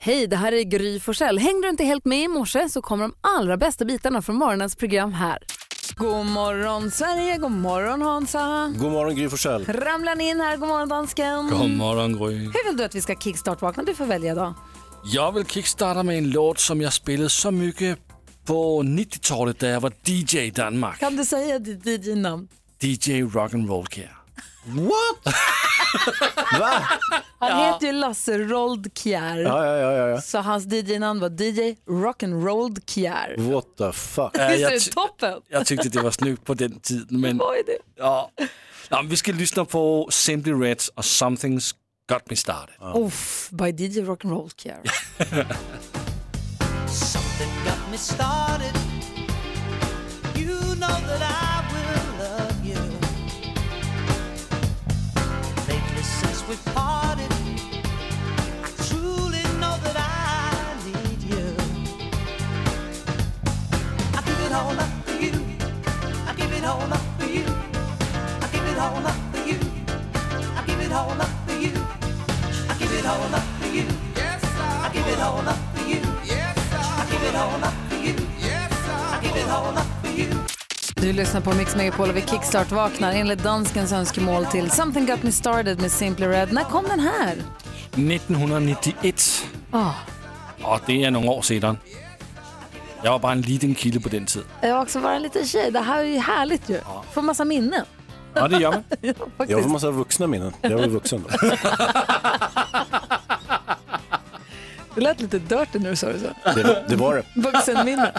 Hej, det här är Gry Forssell. Hängde du inte helt med i morse så kommer de allra bästa bitarna från morgonens program här. God morgon Sverige, god morgon Hansa. God morgon Gry Forssell. Ramlar in här, god morgon dansken. God morgon Gry. Hur vill du att vi ska kickstart-vakna? Du får välja då. Jag vill kickstarta med en låt som jag spelade så mycket på 90-talet där jag var DJ i Danmark. Kan du säga ditt DJ-namn? DJ Rock'n'Roll Care. What? Va? Han heter ju Lasse Roldkjær. Ja, ja, ja, ja, ja. Så hans DJ-namn var DJ Rock'n'Roll Kjär. What the fuck? Ja, Visst är jag det ty- toppen? Jag tyckte det var snyggt på den tiden. Men, Vad är det? ja. Ja, men vi ska lyssna på Simply Reds och Something's Got Me Started. Uff, by DJ Rock'n'Roll Kjär. Something got me started. You know that I will love you. Lately, since we parted, I truly know that I need you. I give it all up for you. I give it all up for you. I give it all up for you. I give it all up for you. I give it all up for you. Yes, I give it all up for you. Du lyssnar på Mix Megapol och vi kickstart vaknar enligt danskens önskemål till Something Got Me Started med Simply Red. När kom den här? 1991. Ah, Och det är några år sedan. Jag var bara en liten kille på den tiden. jag har också varit en liten tjej. Det här är ju härligt ju. Får massa minnen. Ja, det gör man. Jag får Faktiskt. massa vuxna minnen. Jag var ju vuxen då. Det lät lite dirty när du sa det så. Det, det var det. Vuxenminne.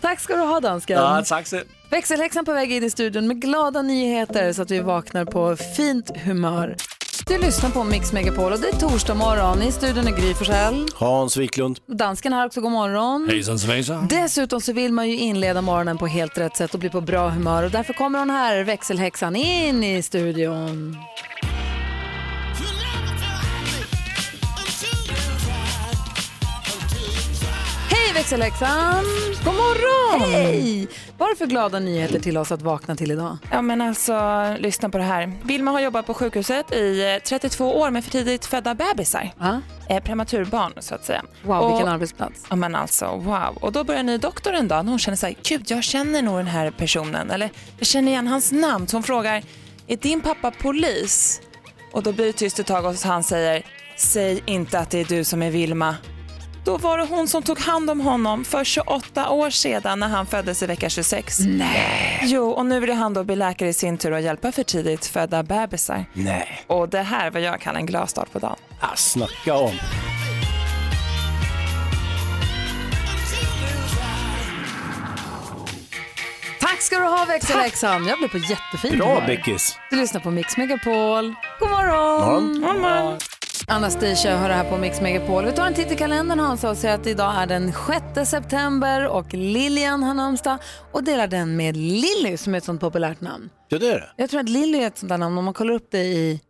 Tack ska du ha dansken. Ja, tack så Växelhäxan på väg in i studion med glada nyheter så att vi vaknar på fint humör. Du lyssnar på Mix Megapol och det är torsdag morgon. I studion är Gry Forssell. Hans Wiklund. Dansken här också, god morgon. Hejsan svejsan. Dessutom så vill man ju inleda morgonen på helt rätt sätt och bli på bra humör och därför kommer hon här, växelhäxan, in i studion. Hej växelhäxan! God morgon! Hej! Vad har du för glada nyheter till oss att vakna till idag? Ja men alltså, lyssna på det här. Vilma har jobbat på sjukhuset i eh, 32 år med för tidigt födda bebisar. Ah, Eh, prematurbarn så att säga. wow, och, vilken arbetsplats. Ja men alltså wow. Och då börjar en ny doktor en dag när hon känner så här, gud jag känner nog den här personen. Eller jag känner igen hans namn. Så hon frågar, är din pappa polis? Och då blir det tyst ett tag och han säger, säg inte att det är du som är Vilma. Då var det hon som tog hand om honom för 28 år sedan när han föddes i vecka 26. Nej. Jo, och nu vill han då bli läkare i sin tur och hjälpa för tidigt födda bebisar. Nej. Och det här är vad jag kallar en glad start på dagen. Ah, snacka om. Tack ska du ha växelhäxan! Jag blev på jättefin Bra humör. Beckis. Du lyssnar på Mix Megapol. God morgon! Morgon. Anastasia hör det här på Mix Megapol. Vi tar en titt i kalendern Hansa och ser att idag är den 6 september och Lilian har namnsdag och delar den med Lilly som är ett sånt populärt namn. Ja, det är det. Jag tror att Lilly är ett sånt där namn om man kollar upp det i,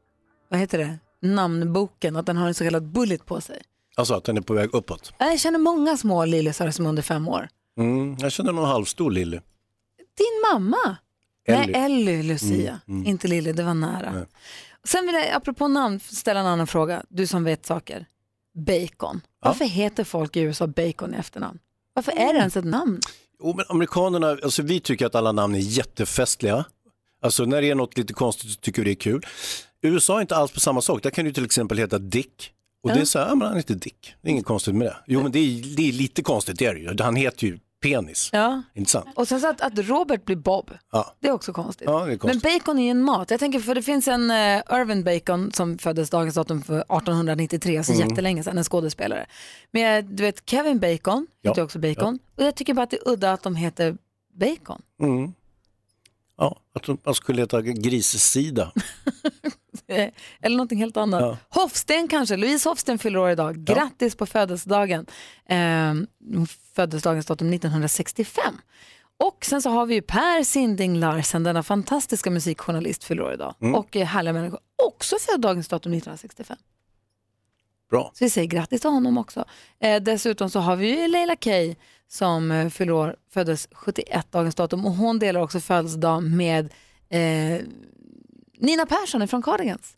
vad heter det, namnboken, att den har en så kallad bullet på sig. Alltså att den är på väg uppåt. Jag känner många små Lillysar som är under fem år. Mm, jag känner någon halvstor Lilly. Din mamma? Ellie. Nej, Ellie Lucia. Mm, Inte Lilly, det var nära. Sen vill jag, apropå namn, ställa en annan fråga. Du som vet saker. Bacon. Varför heter folk i USA bacon i efternamn? Varför Mm. är det ens ett namn? Jo, men amerikanerna, alltså vi tycker att alla namn är jättefestliga. Alltså när det är något lite konstigt så tycker vi det är kul. USA är inte alls på samma sak. Där kan du till exempel heta Dick. Och det är så här, ja, men han heter Dick. Det är inget konstigt med det. Jo, men det är, det är lite konstigt, det är det ju. Han heter ju penis. Ja. Inte sant? Och sen så att, att Robert blir Bob, Ja. det är också konstigt. Ja, det är konstigt. Men bacon är ju en mat. Jag tänker, för det finns en uh, Irvin Bacon som föddes dagens datum för 1893, alltså Mm. jättelänge sedan, en skådespelare. Men jag- du vet, Kevin Bacon Ja. heter också Bacon. Och jag tycker bara att det är udda att de heter Bacon. Mm. Ja, att de- man skulle heta grissida. Eh, Eller någonting helt annat. Ja. Hofsten kanske, Louise Hofsten fyller år idag. Grattis på födelsedagen. Eh, hon föddes dagens datum 1965. Och sen så har vi ju Per Sinding Larsen, denna fantastiska musikjournalist, fyller år idag. Och eh, härliga människor, också född dagens datum 1965. Bra. Så vi säger grattis till honom också. Eh, dessutom så har vi ju Leila Kay som eh, fyller år, föddes 71 dagens datum och hon delar också födelsedag med eh, Nina Persson från Cardigans.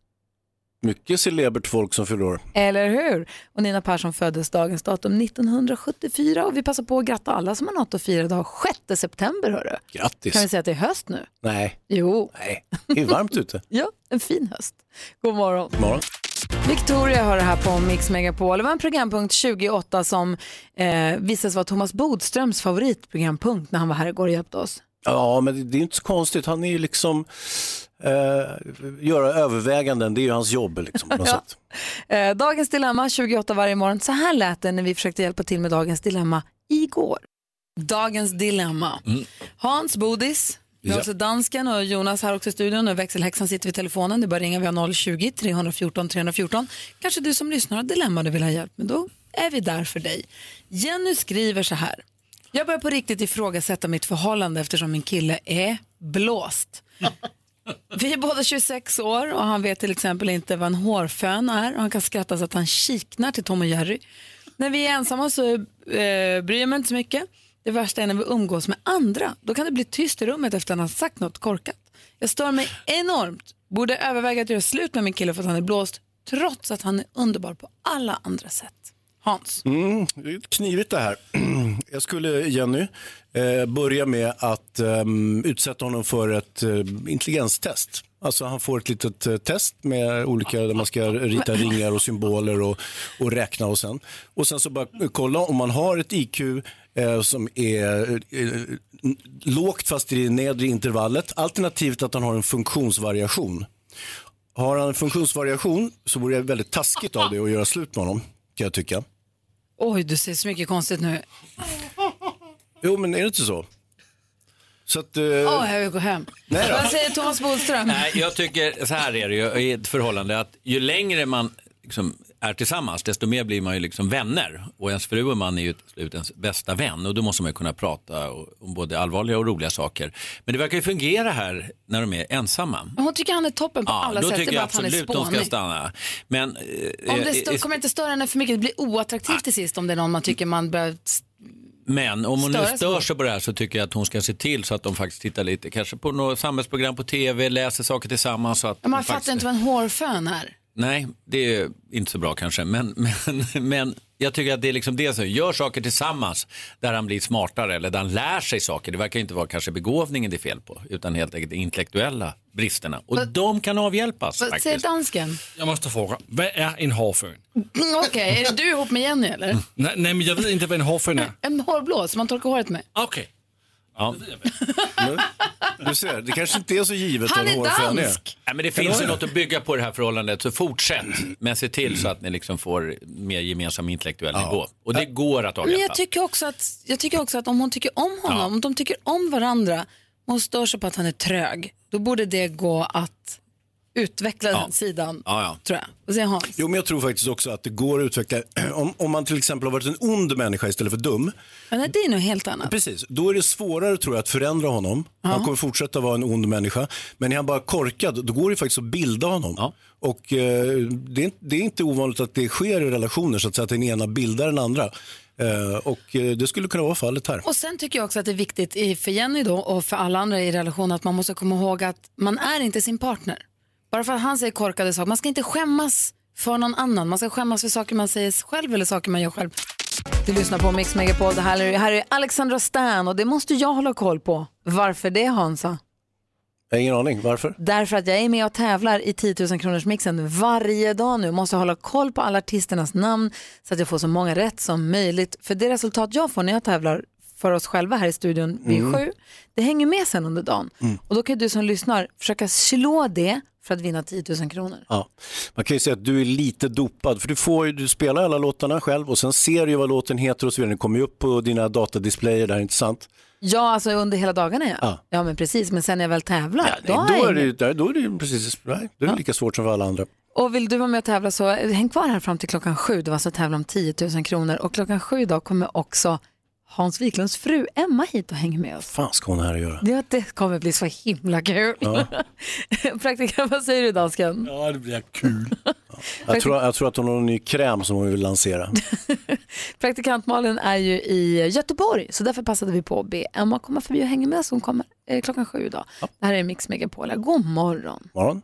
Mycket celebert folk som fyller år. Eller hur? Och Nina Persson föddes dagens datum 1974 och vi passar på att gratta alla som har något att fira idag. 6 september hörru. Grattis. Kan vi säga att det är höst nu? Nej, Jo, nej, det är varmt ute. ja, en fin höst. God morgon. Imorgon. Victoria har det här på Mix Megapol. Det var en programpunkt 28 som eh, visades vara Thomas Bodströms favoritprogrampunkt när han var här igår och hjälpte oss. Ja, men det- det är inte så konstigt. Han är ju liksom, eh, göra överväganden, det är ju hans jobb liksom, på något sätt. Eh, dagens Dilemma 28 varje morgon. Så här lät det när vi försökte hjälpa till med Dagens Dilemma igår. Dagens Dilemma. Hans Bodis, vi har Ja. också dansken och Jonas här också i studion och växelhäxan sitter vid telefonen. Det är bara att ringa, vi har 020-314 314. Kanske du som lyssnar har ett dilemma du vill ha hjälp med, då är vi där för dig. Jenny skriver så här. Jag börjar på riktigt ifrågasätta mitt förhållande eftersom min kille är blåst. Vi är båda 26 år och han vet till exempel inte vad en hårfön är och han kan skratta så att han kiknar till Tom och Jerry. När vi är ensamma så eh, bryr jag mig inte så mycket. Det värsta är när vi umgås med andra. Då kan det bli tyst i rummet efter att han har sagt något korkat. Jag stör mig enormt. Borde överväga att göra slut med min kille för att han är blåst trots att han är underbar på alla andra sätt. Hans. Mm, Det är knivigt det här. Jag skulle, Jenny, eh, börja med att ehm, utsätta honom för ett eh, intelligenstest. Alltså han får ett litet eh, test med olika, där man ska rita ringar och symboler och, och räkna och sen. Och sen så bara kolla om man har ett IQ eh, som är eh, n- lågt fast i det nedre intervallet. Alternativt att han har en funktionsvariation. Har han en funktionsvariation så vore det väldigt taskigt av dig att göra slut med honom, kan jag tycka. Oj, du säger så mycket konstigt nu. Jo, men är det inte så? Så att... eh, Åh, jag vill gå hem. Nej då. Vad säger Thomas Bodström? Nej, jag tycker, så här är det ju i ett förhållande, att ju längre man liksom är tillsammans, desto mer blir man ju liksom vänner. Och ens fru och man är ju till slut ens bästa vän och då måste man ju kunna prata o- om både allvarliga och roliga saker. Men det verkar ju fungera här när de är ensamma. Hon tycker han är toppen på Ja, alla då sätt, det tycker är bara jag att han är absolut de spånig. ska stanna. Men, eh, Om eh, det stö- eh, kommer inte störa henne för mycket, det blir oattraktivt till sist om det är någon man tycker man börjar... Men om hon Störa sig nu stör på. sig på det här så tycker jag att hon ska se till så att de faktiskt tittar lite, kanske på något samhällsprogram på tv, läser saker tillsammans. Så att Ja, Man de faktiskt... fattar inte vad en hårfön är. Nej, det är inte så bra kanske, men, men, men jag tycker att det är liksom det som gör saker tillsammans där han blir smartare eller där han lär sig saker. Det verkar ju inte vara kanske begåvningen det är fel på, utan helt enkelt de intellektuella bristerna. Och de kan avhjälpas Vad säger faktiskt. dansken? Jag måste fråga, vad är en hårfön? Mm, Okej, är det du ihop med Jenny eller? Nej, nej, men jag vet inte vad en hårfön är. En hårblås som man torkar håret med. Okej. Ja. Du ser, det kanske inte är så givet Han vad är hårfön dansk! Nej, men det finns ju något att bygga på i det här förhållandet, så fortsätt. Men se till så att ni liksom får mer gemensam intellektuell nivå. Och det går att Men avhjälpa. jag tycker, också att, jag tycker också att om hon tycker om honom, om de tycker om varandra och hon stör sig på att han är trög, då borde det gå att utveckla den sidan, Ja, ja. tror jag. Vad säger Hans? Jo, men jag tror faktiskt också att det går att utveckla. Om, om man till exempel har varit en ond människa istället för dum, Men nej, det är nog helt annat. precis, då är det svårare tror jag att förändra honom. Han kommer fortsätta vara en ond människa. Men är han bara korkad, då går det faktiskt att bilda honom. Och eh, det, är, inte- det är inte ovanligt att det sker i relationer, så att, säga, att den ena bildar den andra. Eh, och eh, det skulle kunna vara fallet här. Och sen tycker jag också att det är viktigt i- för Jenny då och för alla andra i relation att man måste komma ihåg att man är inte sin partner. Bara för att han säger korkade saker, man ska inte skämmas för någon annan. Man ska skämmas för saker man säger själv eller saker man gör själv. Du lyssnar på Mix Megapol, det här är, här är Alexandra Stan och det måste jag hålla koll på. Varför det Hansa? Jag har ingen aning, varför? Därför att jag är med och tävlar i 10 000 kronors mixen varje dag nu. Måste hålla koll på alla artisternas namn så att jag får så många rätt som möjligt. För det resultat jag får när jag tävlar för oss själva här i studion vid Mm. sju, det hänger med sen under dagen. Och då kan du som lyssnar försöka slå det för att vinna 10 000 kronor. Ja. Man kan ju säga att du är lite dopad, för du, får ju, du spelar alla låtarna själv och sen ser du ju vad låten heter och så vidare. Den kommer ju upp på dina datadisplayer där, inte sant? Ja, alltså under hela dagarna ja. Ja. Ja, men precis. Men sen när jag väl tävlar, då, har då, jag är det, inget. ju- där- då är det ju precis nej, då är det lika svårt som för alla andra. Och vill du vara med och tävla så häng kvar här fram till klockan sju. Det var alltså tävla om 10 000 kronor och klockan sju idag kommer också Hans Wiklunds fru Emma hit och hänger med oss. fan ska hon här att göra? Ja, det kommer bli så himla kul. Praktikant, vad säger du dansken? Ja, det blir kul. Jag tror, jag tror att hon har en ny kräm som hon vill lansera. Praktikant Malin är ju i Göteborg, så därför passade vi på att be Emma komma förbi och hänga med oss. Hon kommer eh, klockan sju idag. Det här är Mix Megapol. God morgon. Morgon.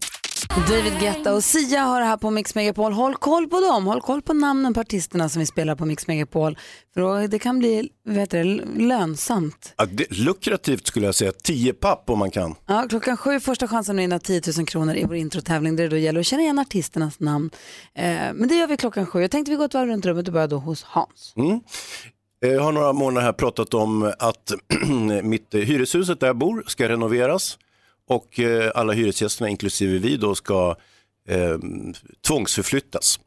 David Guetta och Sia har det här på Mix Megapol. Håll koll på dem, håll koll på namnen på artisterna som vi spelar på Mix Megapol. För då- det kan bli vet du, lönsamt. Ja, det, lukrativt skulle jag säga, 10 papp om man kan. Ja, klockan sju, första chansen att vinna 10 000 kronor i vår introtävling där det då gäller att känna igen artisternas namn. Eh, men det gör vi klockan sju. Jag tänkte vi går ett varv runt rummet och börjar då hos Hans. Mm. Jag Eh, har några månader här pratat om att mitt eh, hyreshuset där jag bor ska renoveras och eh, alla hyresgästerna inklusive vi då ska eh, tvångsförflyttas.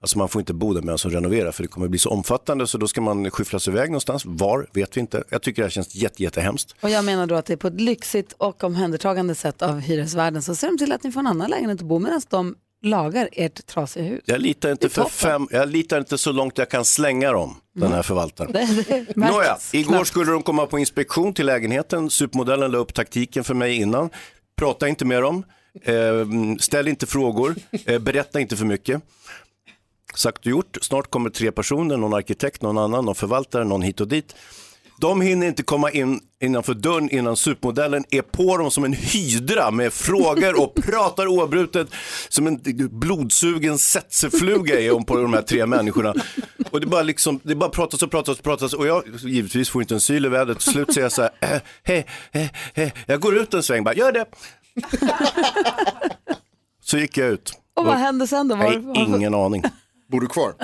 Alltså man får inte bo där medan som renoverar för det kommer bli så omfattande så då ska man skyfflas iväg någonstans. Var vet vi inte. Jag tycker det här känns jätte, jättehemskt. Och jag menar då att det är på ett lyxigt och omhändertagande sätt av hyresvärden så ser de till att ni får en annan lägenhet att bo medan de lagar ert trasiga hus. Jag litar inte, för fem, jag litar inte så långt jag kan slänga dem, den här förvaltaren. Det, det märks Nåja, igår knappt. skulle de komma på inspektion till lägenheten. Supermodellen la upp taktiken för mig innan. Prata inte med dem. Eh, ställ inte frågor. Eh, berätta inte för mycket. Sagt och gjort. Snart kommer tre personer, någon arkitekt, någon annan, någon förvaltare, någon hit och dit. De hinner inte komma in innanför dörren innan supermodellen är på dem som en hydra med frågor och pratar oavbrutet som en blodsugen setsefluga är hon på de här tre människorna. Och det bara, liksom, det bara pratas och pratas och pratas och jag givetvis får inte en syl i vädret. Till slut säger jag så här, eh, hej, hej, hej, jag går ut en sväng bara, gör det. Så gick jag ut. Och vad hände sen då? Nej, Var, var, ingen aning. Bor du kvar?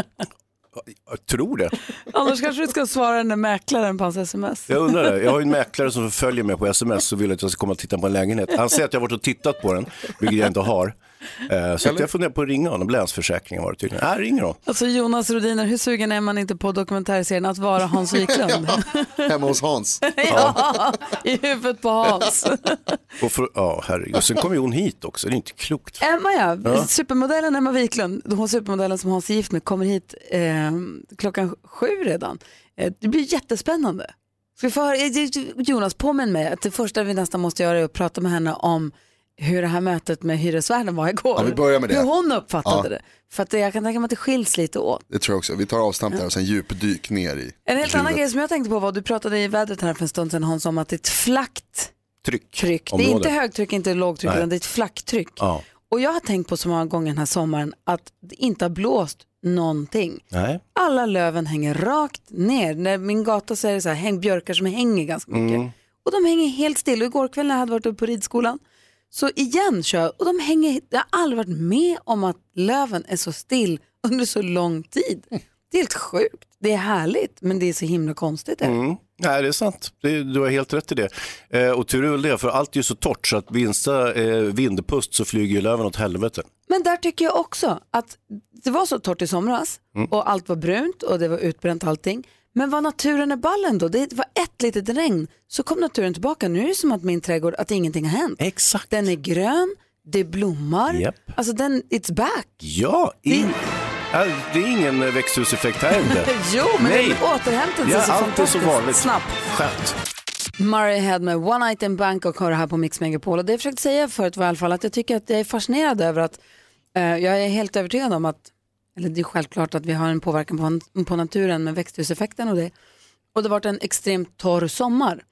Jag tror det. annars kanske du ska svara den där mäklaren på hans sms. Jag undrar det. Jag har ju en mäklare som följer mig på sms och vill att jag ska komma och titta på en lägenhet. Han säger att jag har varit och tittat på den, vilket jag inte har. Eh, Så att jag funderar på att ringa honom. Länsförsäkringen var det tydligen. Nej, ringer honom. Alltså Jonas Rodiner, hur sugen är man inte på dokumentärserien Att vara Hans Wiklund? Hemma hos Hans? ja, i huvudet på Hans. Och för, ja, herregud. Sen kom ju hon hit också. Det är inte klokt. Emma ja, supermodellen Emma Wiklund, hon supermodellen som Hans är gift med, kommer hit eh, klockan sju redan. Eh, det blir jättespännande. Ska vi få höra, eh, Jonas, påminn mig att det första vi nästan måste göra är att prata med henne om hur det här mötet med hyresvärden var igår. Ja, vi börjar med det. Hur hon Ja. uppfattade det. För att det- jag kan tänka mig att det skiljs lite åt. Det tror jag också. Vi tar avstamp där och sen djupdyk ner i En helt annan huvudet. grej som jag tänkte på var, du pratade i vädret här för en stund sedan Hans om att det är ett flackt Tryck. tryck. Det är Område. inte högtryck, inte lågtryck, Nej. utan det är ett flacktryck. Ja. Och jag har tänkt på så många gånger den här sommaren att det inte har blåst någonting. Nej. Alla löven hänger rakt ner. När min gata så är det så här, häng, björkar som hänger ganska mycket. Och de hänger helt still. Och igår kväll när jag hade varit uppe på ridskolan så igen kör jag. Och de hänger, jag har aldrig varit med om att löven är så still under så lång tid. Det är helt sjukt. Det är härligt men det är så himla konstigt. är det? Mm. Nej, det är sant. Det, du har helt rätt i det. Eh, och tur är väl det, för allt är ju så torrt så att minsta eh, vindpust så flyger ju löven åt helvete. Men där tycker jag också att det var så torrt i somras Mm. och allt var brunt och det var utbränt allting. Men vad naturen är ballen då? Det var ett litet regn så kom naturen tillbaka. Nu är det som att min trädgård, att ingenting har hänt. Exakt. Den är grön, det blommar, Japp. alltså den, it's back. Ja, in... Ja, det är ingen eh, växthuseffekt här inte. Jo, men Nej. den återhämtade sig Ja, så allt är som vanligt. fantastiskt snabbt. Skönt. Murray Head med One Night in Bangkok har det här på Mix Megapol. Och det jag försökte säga förut var i alla fall att jag tycker att jag är fascinerad över att eh, jag är helt övertygad om att, eller det är självklart att vi har en påverkan på, på naturen med växthuseffekten och det. Och det har varit en extremt torr sommar.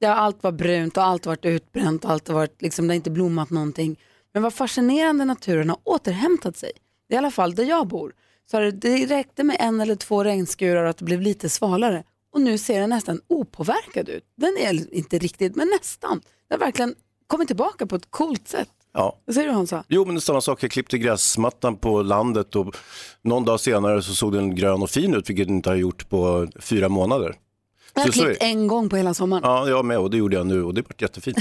Där allt var brunt och allt har varit utbränt och allt har varit, liksom, det har inte blommat någonting. Men vad fascinerande naturen har återhämtat sig. I alla fall där jag bor. Så har det, det räckte med en eller två regnskurar och att det blev lite svalare. Och nu ser den nästan opåverkad ut. Den är eller inte riktigt, men nästan. Den har verkligen kommit tillbaka på ett coolt sätt. Ja. Vad säger du Hansa? Jo, men det är samma sak. Jag klippte gräsmattan på landet och någon dag senare så såg den grön och fin ut, vilket den inte har gjort på fyra månader. Jag har Så- så är klippt det. en gång på hela sommaren. Ja, jag med och det gjorde jag nu och det vart jättefint.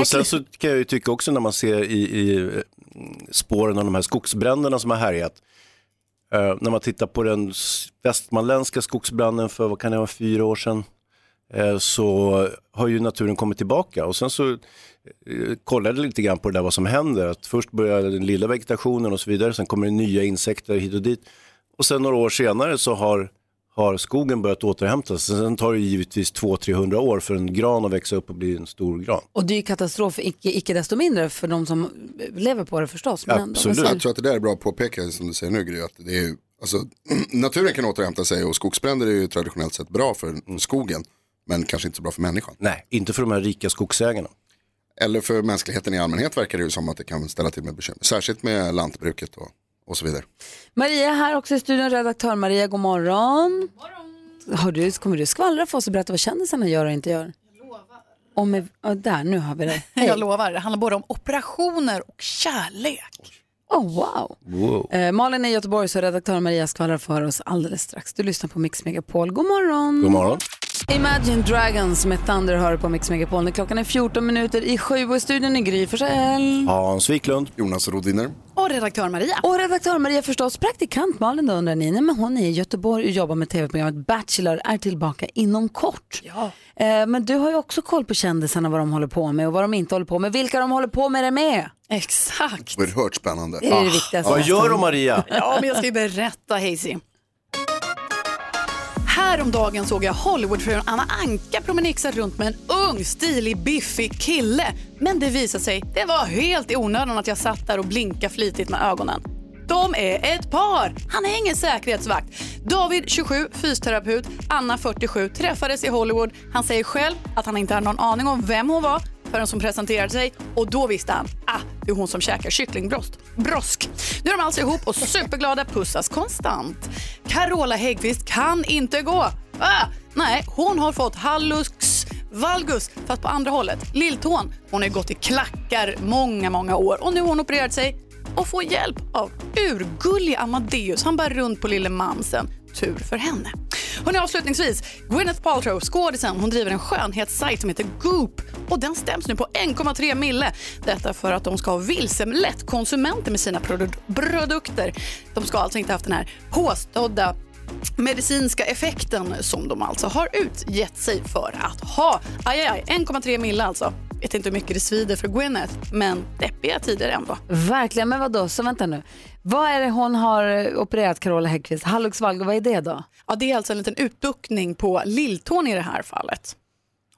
och sen så kan jag ju tycka också när man ser i, i eh, spåren av de här skogsbränderna som har härjat. Eh, när man tittar på den s- västmanländska skogsbranden för, vad kan det vara, fyra år sedan. eh, så har ju naturen kommit tillbaka och sen så eh, kollade lite grann på det där vad som händer. Att först börjar den lilla vegetationen och så vidare, sen kommer det nya insekter hit och dit. Och sen några år senare så har, har skogen börjat återhämta sig. Sen tar det givetvis 200-300 år för en gran att växa upp och bli en stor gran. Och det är ju katastrof, icke, icke desto mindre, för de som lever på det förstås. Men ändå. Absolut. Jag tror att det där är bra att påpeka som du säger nu Gry, att det är, ju- alltså, naturen kan återhämta sig och skogsbränder är ju traditionellt sett bra för skogen men kanske inte så bra för människan. Nej, inte för de här rika skogsägarna. Eller för mänskligheten i allmänhet verkar det ju som att det kan ställa till med bekymmer. Särskilt med lantbruket och, och så vidare. Maria är här också i studion, redaktör Maria, god morgon. Har du, kommer du skvallra för oss och berätta vad kändisarna gör och inte gör? Jag lovar. där, nu har vi det. Hej. Jag lovar, det handlar både om operationer och kärlek. Oh, wow. Eh, Malin är i Göteborg så redaktör Maria skvallrar för oss alldeles strax. Du lyssnar på Mix Megapol. God morgon. God morgon. Imagine Dragons med Thunder hör du på Mix Megapol. När klockan är 14 minuter i sju och i studion är Gry Forssell. Hans Wiklund. Jonas Rodiner. Och redaktör Maria. Och redaktör Maria förstås, praktikant Malin då undrar ni, nej, men hon är i Göteborg och jobbar med tv-programmet Bachelor, är tillbaka inom kort. Eh, men du har ju också koll på kändisarna, vad de håller på med och vad de inte håller på med, vilka de håller på med det med. Exakt. Oerhört spännande. Det är det viktigaste. Vad gör du Maria? Ja, men jag ska ju berätta, Hazy. Häromdagen såg jag Hollywoodfrun Anna Anka promenixa runt med en ung, stilig, biffig kille. Men det visade sig, det var helt i onödan att jag satt där och blinkade flitigt med ögonen. De är ett par! Han är ingen säkerhetsvakt. David, 27, fysioterapeut. Anna, 47, träffades i Hollywood. Han säger själv att han inte hade någon aning om vem hon var förrän som presenterade sig och då visste han ah, det är hon som käkar kycklingbrosk. Brosk. Nu är de alltså ihop och superglada pussas konstant. Carola Häggkvist kan inte gå. Ah, nej, hon har fått hallux valgus, fast på andra hållet. Lilltån. Hon har gått i klackar många, många år och nu har hon opererat sig och får hjälp av urgullig Amadeus. Han bär runt på lille mamsen. Tur för henne. Hon avslutningsvis, Gwyneth Paltrow, skådisen, hon driver en skönhetssajt som heter Goop och den stäms nu på 1,3 mille. Detta för att de ska ha vilselett konsumenter med sina produ- produkter. De ska alltså inte haft den här påstådda medicinska effekten som de alltså har utgett sig för att ha. Aj, aj, aj, 1,3 mille alltså. Vet inte hur mycket det svider för Gwyneth, men deppiga tider ändå. Verkligen, men vadå, så vänta nu. Vad är det hon har eh, opererat Carola Häggkvist? Hallux valgus, vad är det då? Ja, det är alltså en liten utduckning på lilltån i det här fallet.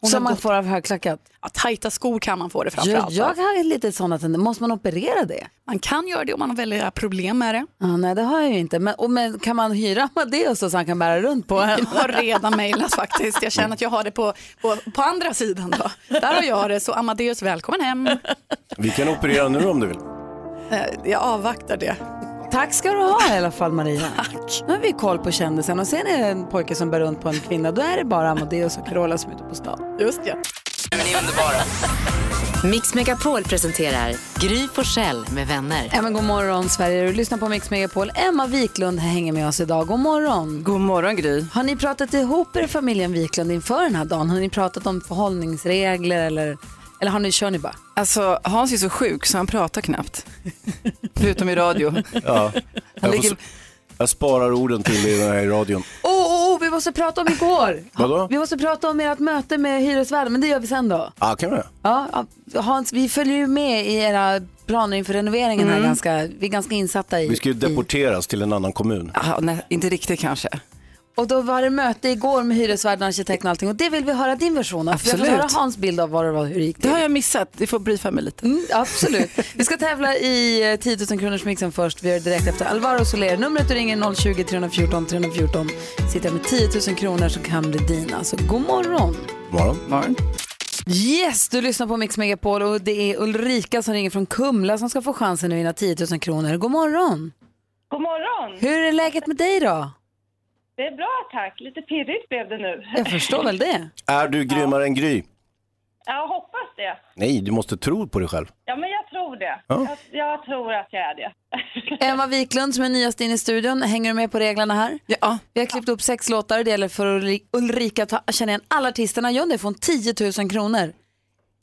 Hon Som har man gått- får av högklackat? Ja, tajta skor kan man få det framför Jag, allt. jag har lite sådana tendenser, måste man operera det? Man kan göra det om man har väldiga problem med det. Ja, nej, det har jag ju inte. Men, och, men kan man hyra Amadeus så så han kan bära runt på en? Jag har redan mejlat faktiskt. Jag känner att jag har det på, på, på andra sidan. Då. Där har jag det, så Amadeus välkommen hem. Vi kan operera nu om du vill. Eh, Jag avvaktar det. Tack ska du ha i alla fall Maria. Nu har vi koll på kändisen och ser ni en pojke som bär runt på en kvinna då är det bara Amadeus och Carola som är ute på stan. Just det. Mix Megapol presenterar Gry Forssell med vänner. Även god morgon Sverige, du lyssnar på Mix Megapol. Emma Wiklund hänger med oss idag. God morgon. God morgon Gry. Har ni pratat ihop er familjen Wiklund inför den här dagen? Har ni pratat om förhållningsregler eller, eller har ni, kör ni bara? Alltså Hans är så sjuk så han pratar knappt. Förutom i radio. Ja. Han Jag, får, ligger... s- jag sparar orden till det här i radion. Åh, oh, vi måste prata om igår! Vadå? Vi måste prata om ert möte med hyresvärden, men det gör vi sen då. Ja, kan vi göra. Ja, Hans, vi följer ju med i era planer inför renoveringen här ganska, vi är ganska insatta i. Vi ska ju deporteras till en annan kommun. Ah, nej, inte riktigt kanske. Och då var det möte igår med hyresvärden, arkitekten och allting och det vill vi höra din version av. för Jag vill Absolut. höra Hans bild av vad det var, hur det gick Det till. har jag missat. Du får briefa mig lite. Mm, absolut. Vi ska tävla i eh, 10 000 kronors mixen först. Vi gör det direkt efter Alvaro Soler. Numret du ringer är 020 314 314. Sitter jag med 10 000 kronor så kan det dina. Så god morgon. God morgon. Morgon. Yes, du lyssnar på Mix Megapol och det är Ulrika som ringer från Kumla som ska få chansen att vinna 10 000 kronor. God morgon. God morgon! Hur är läget med dig då? Det är bra tack. Lite pirrigt blev det nu. Jag förstår väl det. Är du grymmare än Gry? Jag hoppas det. Nej, du måste tro på dig själv. Ja, men jag tror det. Ja. Jag, jag tror att jag är det. Emma Wiklund som är nyast in i studion, hänger du med på reglerna här? Ja, Vi har klippt upp sex låtar det gäller för Ulri- Ulrika att ta- känna igen alla artisterna. Gör hon det får hon 10 000 kronor.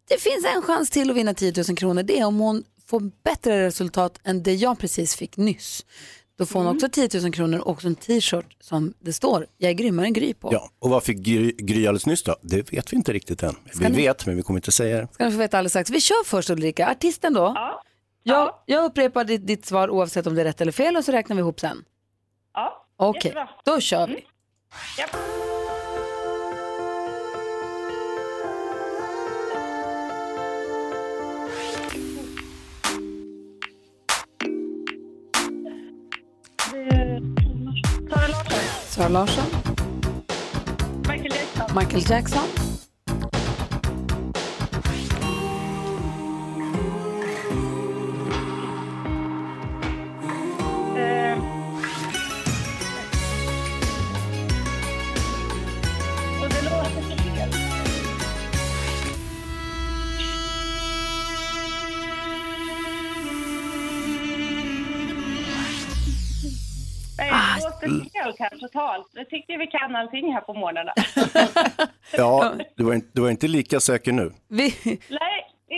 Det finns en chans till att vinna 10 000 kronor. Det är om hon får bättre resultat än det jag precis fick nyss. Då får hon också 10 000 kronor och också en t-shirt som det står “Jag är grymmare än Gry” på. Ja, och varför Gry, Gry alldeles nyss då? Det vet vi inte riktigt än. Vi ni- vet, men vi kommer inte säga det. Ska ni få veta alldeles strax. Vi kör först Ulrika, artisten då. Ja. Jag, jag upprepar ditt, ditt svar oavsett om det är rätt eller fel och så räknar vi ihop sen. Ja. Okej, Jättebra. Mm. då kör vi. Japp. Sara Larsson, Sara Larsson, Michael Jackson, Michael Jackson, här totalt. Jag tycker vi kan allting här på morgnarna. Ja, du var, inte, du var inte lika säker nu. Nej,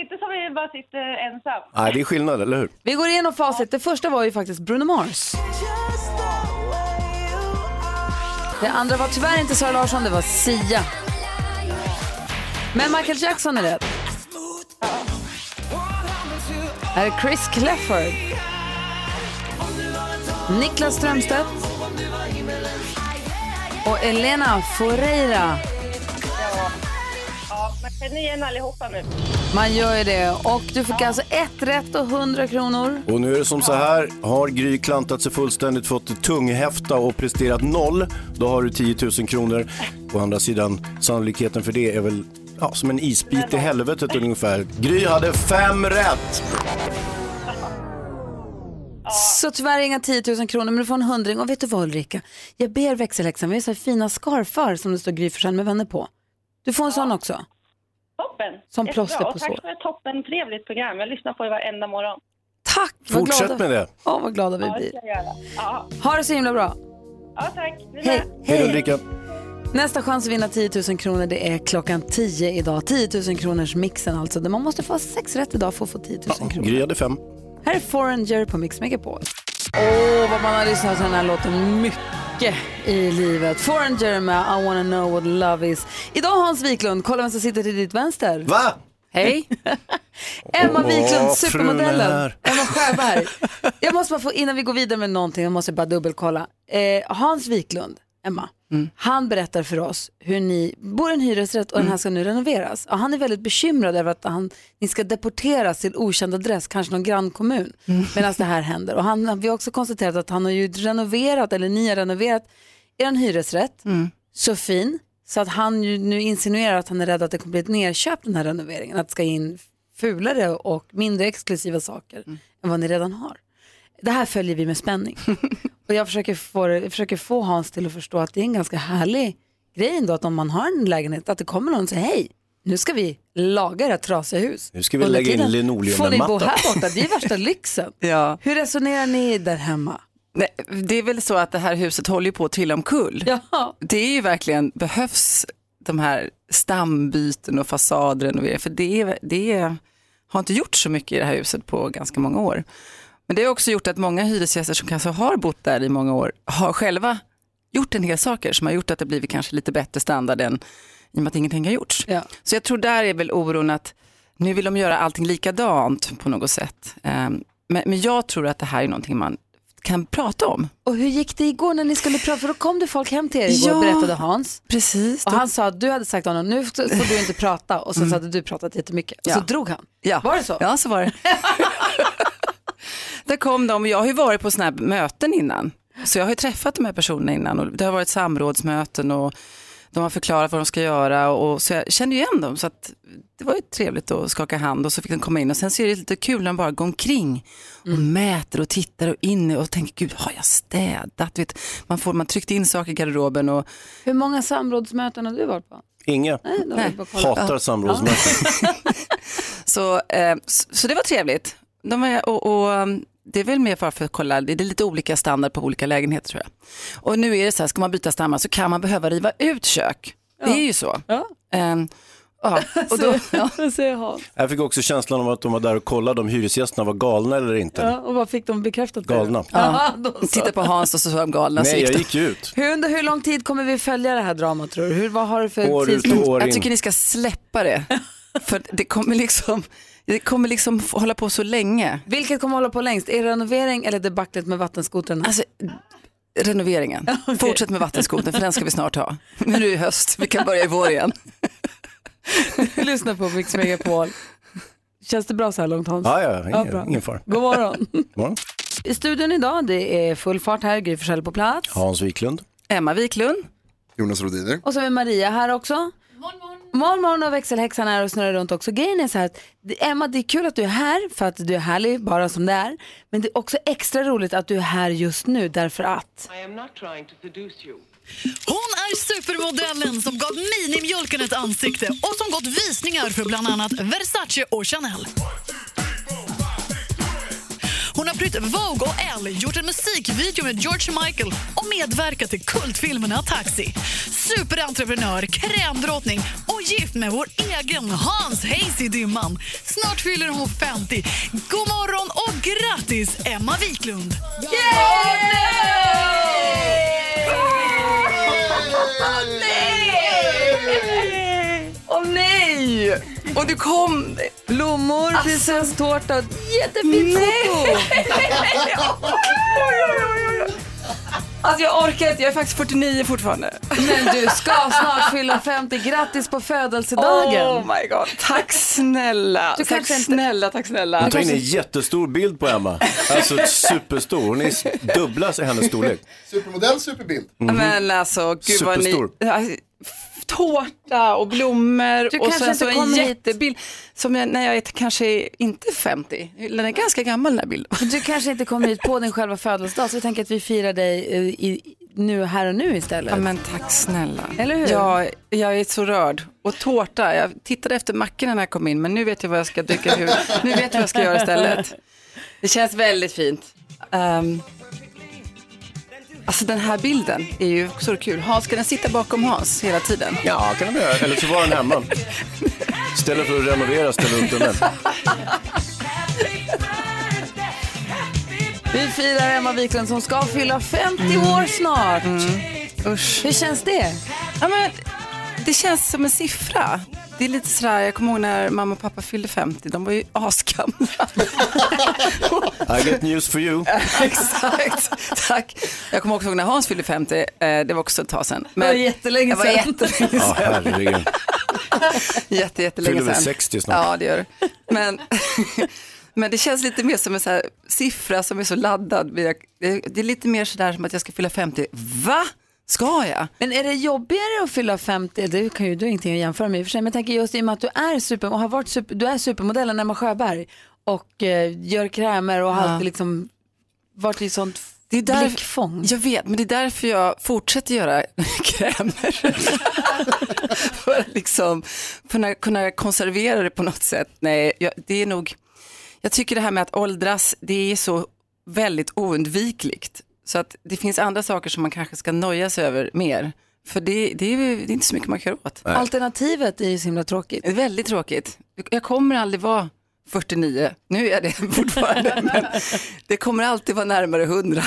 inte som vi bara sitter ensam. Nej, det är skillnad, eller hur? Vi går igenom facit. Det första var ju faktiskt Bruno Mars. Det andra var tyvärr inte Sara Larsson, det var Sia. Men Michael Jackson är rätt. Här är Chris Clefford. Niklas Strömstedt. Och Elena Foreira. Ja, ja man känner igen allihopa nu. Man gör ju det. Och du fick alltså ett rätt och 100 kronor. Och nu är det som så här, har Gry klantat sig fullständigt, fått tunghäfta och presterat noll, då har du 10 000 kronor. Å andra sidan, sannolikheten för det är väl ja, som en isbit i helvetet ungefär. Gry hade fem rätt! Så tyvärr inga 10 000 kronor, men du får en hundring. Och vet du vad Ulrika? Jag ber växelhäxan, vi har så här fina scarfar som det står Gry Forssell med vänner på. Du får en sån också. Toppen! Som Jättebra. plåster på Och Tack sår. för ett toppen trevligt program. Jag lyssnar på er varenda morgon. Vad Fortsätt glada- med det. Åh, vad glada vi Ja, det blir. ska jag göra. Ja, Ha det så himla bra. ja tack. Ni Hej. med. Hej Ulrika. Nästa chans att vinna 10 000 kronor det är klockan 10 idag. 10 000 kronors mixen alltså. Där man måste få sex rätt idag för att få 10 000 kronor. Gry hade fem. Här är Foreigner på Mix Megapol. Åh, vad man har lyssnat till den här låten mycket i livet. Foreigner med I wanna know what love is. Idag Hans Wiklund, kolla vem som sitter till ditt vänster. Va? Hej. Emma Åh, Wiklund, frun är supermodellen. här. Emma Sjöberg. Jag måste bara få, innan vi går vidare med någonting, jag måste bara dubbelkolla. Eh, Hans Wiklund, Emma, Mm. han berättar för oss hur ni bor i en hyresrätt och den Mm. här ska nu renoveras. Och han är väldigt bekymrad över att han, ni ska deporteras till okänd adress, kanske någon grannkommun, Mm. medan det här händer. Och han, vi har också konstaterat att han har ju renoverat, eller ni har renoverat, er en hyresrätt så fin så att han ju nu insinuerar att han är rädd att det kommer bli ett nerköp den här renoveringen. Att det ska in fulare och mindre exklusiva saker Mm. än vad ni redan har. Det här följer vi med spänning. och jag försöker, få, det- jag försöker få Hans till att förstå att det är en ganska härlig grej ändå att om man har en lägenhet att det kommer någon och säger hej, nu ska vi laga det här trasiga hus. Nu ska vi Under lägga in tiden Får ni bo linoleummatta. här borta? Det är värsta lyxen. Ja. Hur resonerar ni där hemma? Nej, det är väl så att det här huset håller ju på att trilla omkull. Ja. Det är ju verkligen, behövs de här stambyten och fasadrenoveringar, för det, är- det är- har inte gjort så mycket i det här huset på ganska många år. Men det har också gjort att många hyresgäster som kanske har bott där i många år har själva gjort en hel saker som har gjort att det blivit kanske lite bättre standard än i och med att ingenting har gjorts. Så jag tror där är väl oron att nu vill de göra allting likadant på något sätt. Ehm, Men, men jag tror att det här är någonting man kan prata om. Och hur gick det igår när ni skulle prata? För då kom det folk hem till er igår Ja, berättade Hans. Precis. Och han sa att du hade sagt till honom, nu får du inte prata. Och sen så hade du pratat jättemycket. Och så Ja. drog han. Ja. Var det så? Ja, så var det. Där kom de, jag har ju varit på sådana här möten innan. Så jag har ju träffat de här personerna innan och det har varit samrådsmöten och de har förklarat vad de ska göra och så jag kände ju igen dem så att det var ju trevligt att skaka hand och så fick de komma in och sen så är det lite kul när de bara går omkring och mäter och tittar och inne och tänker gud har jag städat? Vet, man, får, man tryckte in saker i garderoben och Hur många samrådsmöten har du varit på? Inga. då har vi bara kollat. Hatar Ja. samrådsmöten. Så, eh, så, så det var trevligt. De var, och, och, um, det är väl mer bara för att kolla, det är lite olika standard på olika lägenheter tror jag. Och nu är det så här, ska man byta stammar så kan man behöva riva ut kök. Det är ju så. Ja. Ehm, ja, och då, ja. säger Hans. Jag fick också känslan av att de var där och kollade om hyresgästerna var galna eller inte. Ja, och vad fick de bekräftat? Galna. Ja. Titta på Hans och så var de galna. så Nej, jag de. gick ju ut. Hur, under hur lång tid kommer vi följa det här dramat tror du? Hur, vad har du för År ut och tidsrymd? år Jag tycker ni ska släppa det. För det kommer liksom, det kommer liksom hålla på så länge. Vilket kommer hålla på längst? Är det renovering eller debaclet med vattenskotrarna? Alltså, renoveringen. Fortsätt med vattenskoten för den ska vi snart ha. Men nu är det höst, vi kan börja i vår igen. Lyssna på Mix Megapol. Känns det bra så här långt Hans? Ja, ja, ingen, bra. ingen fara. Mm. God morgon. God morgon. I studion idag, det är full fart här, Gry Forssell på plats. Hans Wiklund. Emma Wiklund. Jonas Rodiner. Och så är Maria här också. Morgon, morgon och växelhäxan är och snurrar runt också. Grejen är så här att det- Emma, det är kul att du är här för att du är härlig bara som det är. Men det är också extra roligt att du är här just nu därför att. I am not trying to seduce you. Hon är supermodellen som gav minimjölken ett ansikte och som gått visningar för bland annat Versace och Chanel. Hon Hon har prytt Vogue och Elle, gjort en musikvideo med George Michael och medverkat i kultfilmerna Taxi. Superentreprenör, krämdrottning och gift med vår egen Hans Hayes i Dimman. Snart fyller hon 50. God morgon och grattis, Emma Wiklund! Åh nej! Och du kom... Blommor, prinsesstårta, jättefint foto! Alltså jag orkar inte, jag är faktiskt 49 fortfarande. Men du ska snart fylla 50. Grattis på födelsedagen! Oh my god, tack snälla. Du tack kanske inte- snälla, tack snälla. Hon tar in en jättestor bild på Emma. Alltså superstor. Hon är dubbla hennes storlek. Supermodell, superbild. Men alltså, gud vad ni... Superstor. Alltså, f- Tårta och blommor Du och kanske sen så inte en kommer hit. jättebild. Som jag, när jag är t- kanske är inte 50, den är ganska gammal den här bilden. Du kanske inte kommer hit på din själva födelsedag så vi tänker att vi firar dig eh, i, nu här och nu istället. Ja, men tack snälla. Eller hur? Jag, jag är så rörd. Och tårta, jag tittade efter mackorna när jag kom in men nu vet jag vad jag ska dyka hur. Nu vet jag vad jag ska göra istället. Det känns väldigt fint. Ehm, alltså den här bilden är ju så kul. Hans, ska den sitta bakom Hans hela tiden? Ja, kan de göra. Eller så var den hemma. Istället för att renovera ställer upp den där. Vi firar Emma Wiklund som ska fylla 50 år snart. Mm. Usch. Hur känns det? Ja, men, det känns som en siffra. Det är lite sådär, jag kommer ihåg när mamma och pappa fyllde 50, de var ju asgamla. I get news for you. Exakt, tack. Jag kommer också ihåg när Hans fyllde 50, eh, det var också ett tag sedan. Men Det var jättelänge det var sedan. jättelänge Ja, sedan. herregud. Jätte, jättelänge Fyller väl sedan. 60 snart. Ja, det gör det. men, men det känns lite mer som en så här siffra som är så laddad. Men jag- Det det är lite mer sådär som att jag ska fylla 50. Va? Ska jag? Men är det jobbigare att fylla 50? Det kan ju du ingenting att jämföra med i och för sig. Men jag tänker just i och med att du är, super, och har varit super, du är supermodellen Emma Sjöberg och eh, gör krämer och har Ja. alltid liksom varit i sånt Det är där- blickfång. Jag vet, men det är därför jag fortsätter göra krämer. för, att liksom, för att kunna konservera det på något sätt. Nej, jag, det är nog, jag tycker det här med att åldras, det är så väldigt oundvikligt. Så att det finns andra saker som man kanske ska noja sig över mer. För det, det, är, ju- det är inte så mycket man kan göra åt. Alternativet är ju så himla tråkigt. Det är väldigt tråkigt. Jag kommer aldrig vara 49, nu är jag det fortfarande, men det kommer alltid vara närmare 100.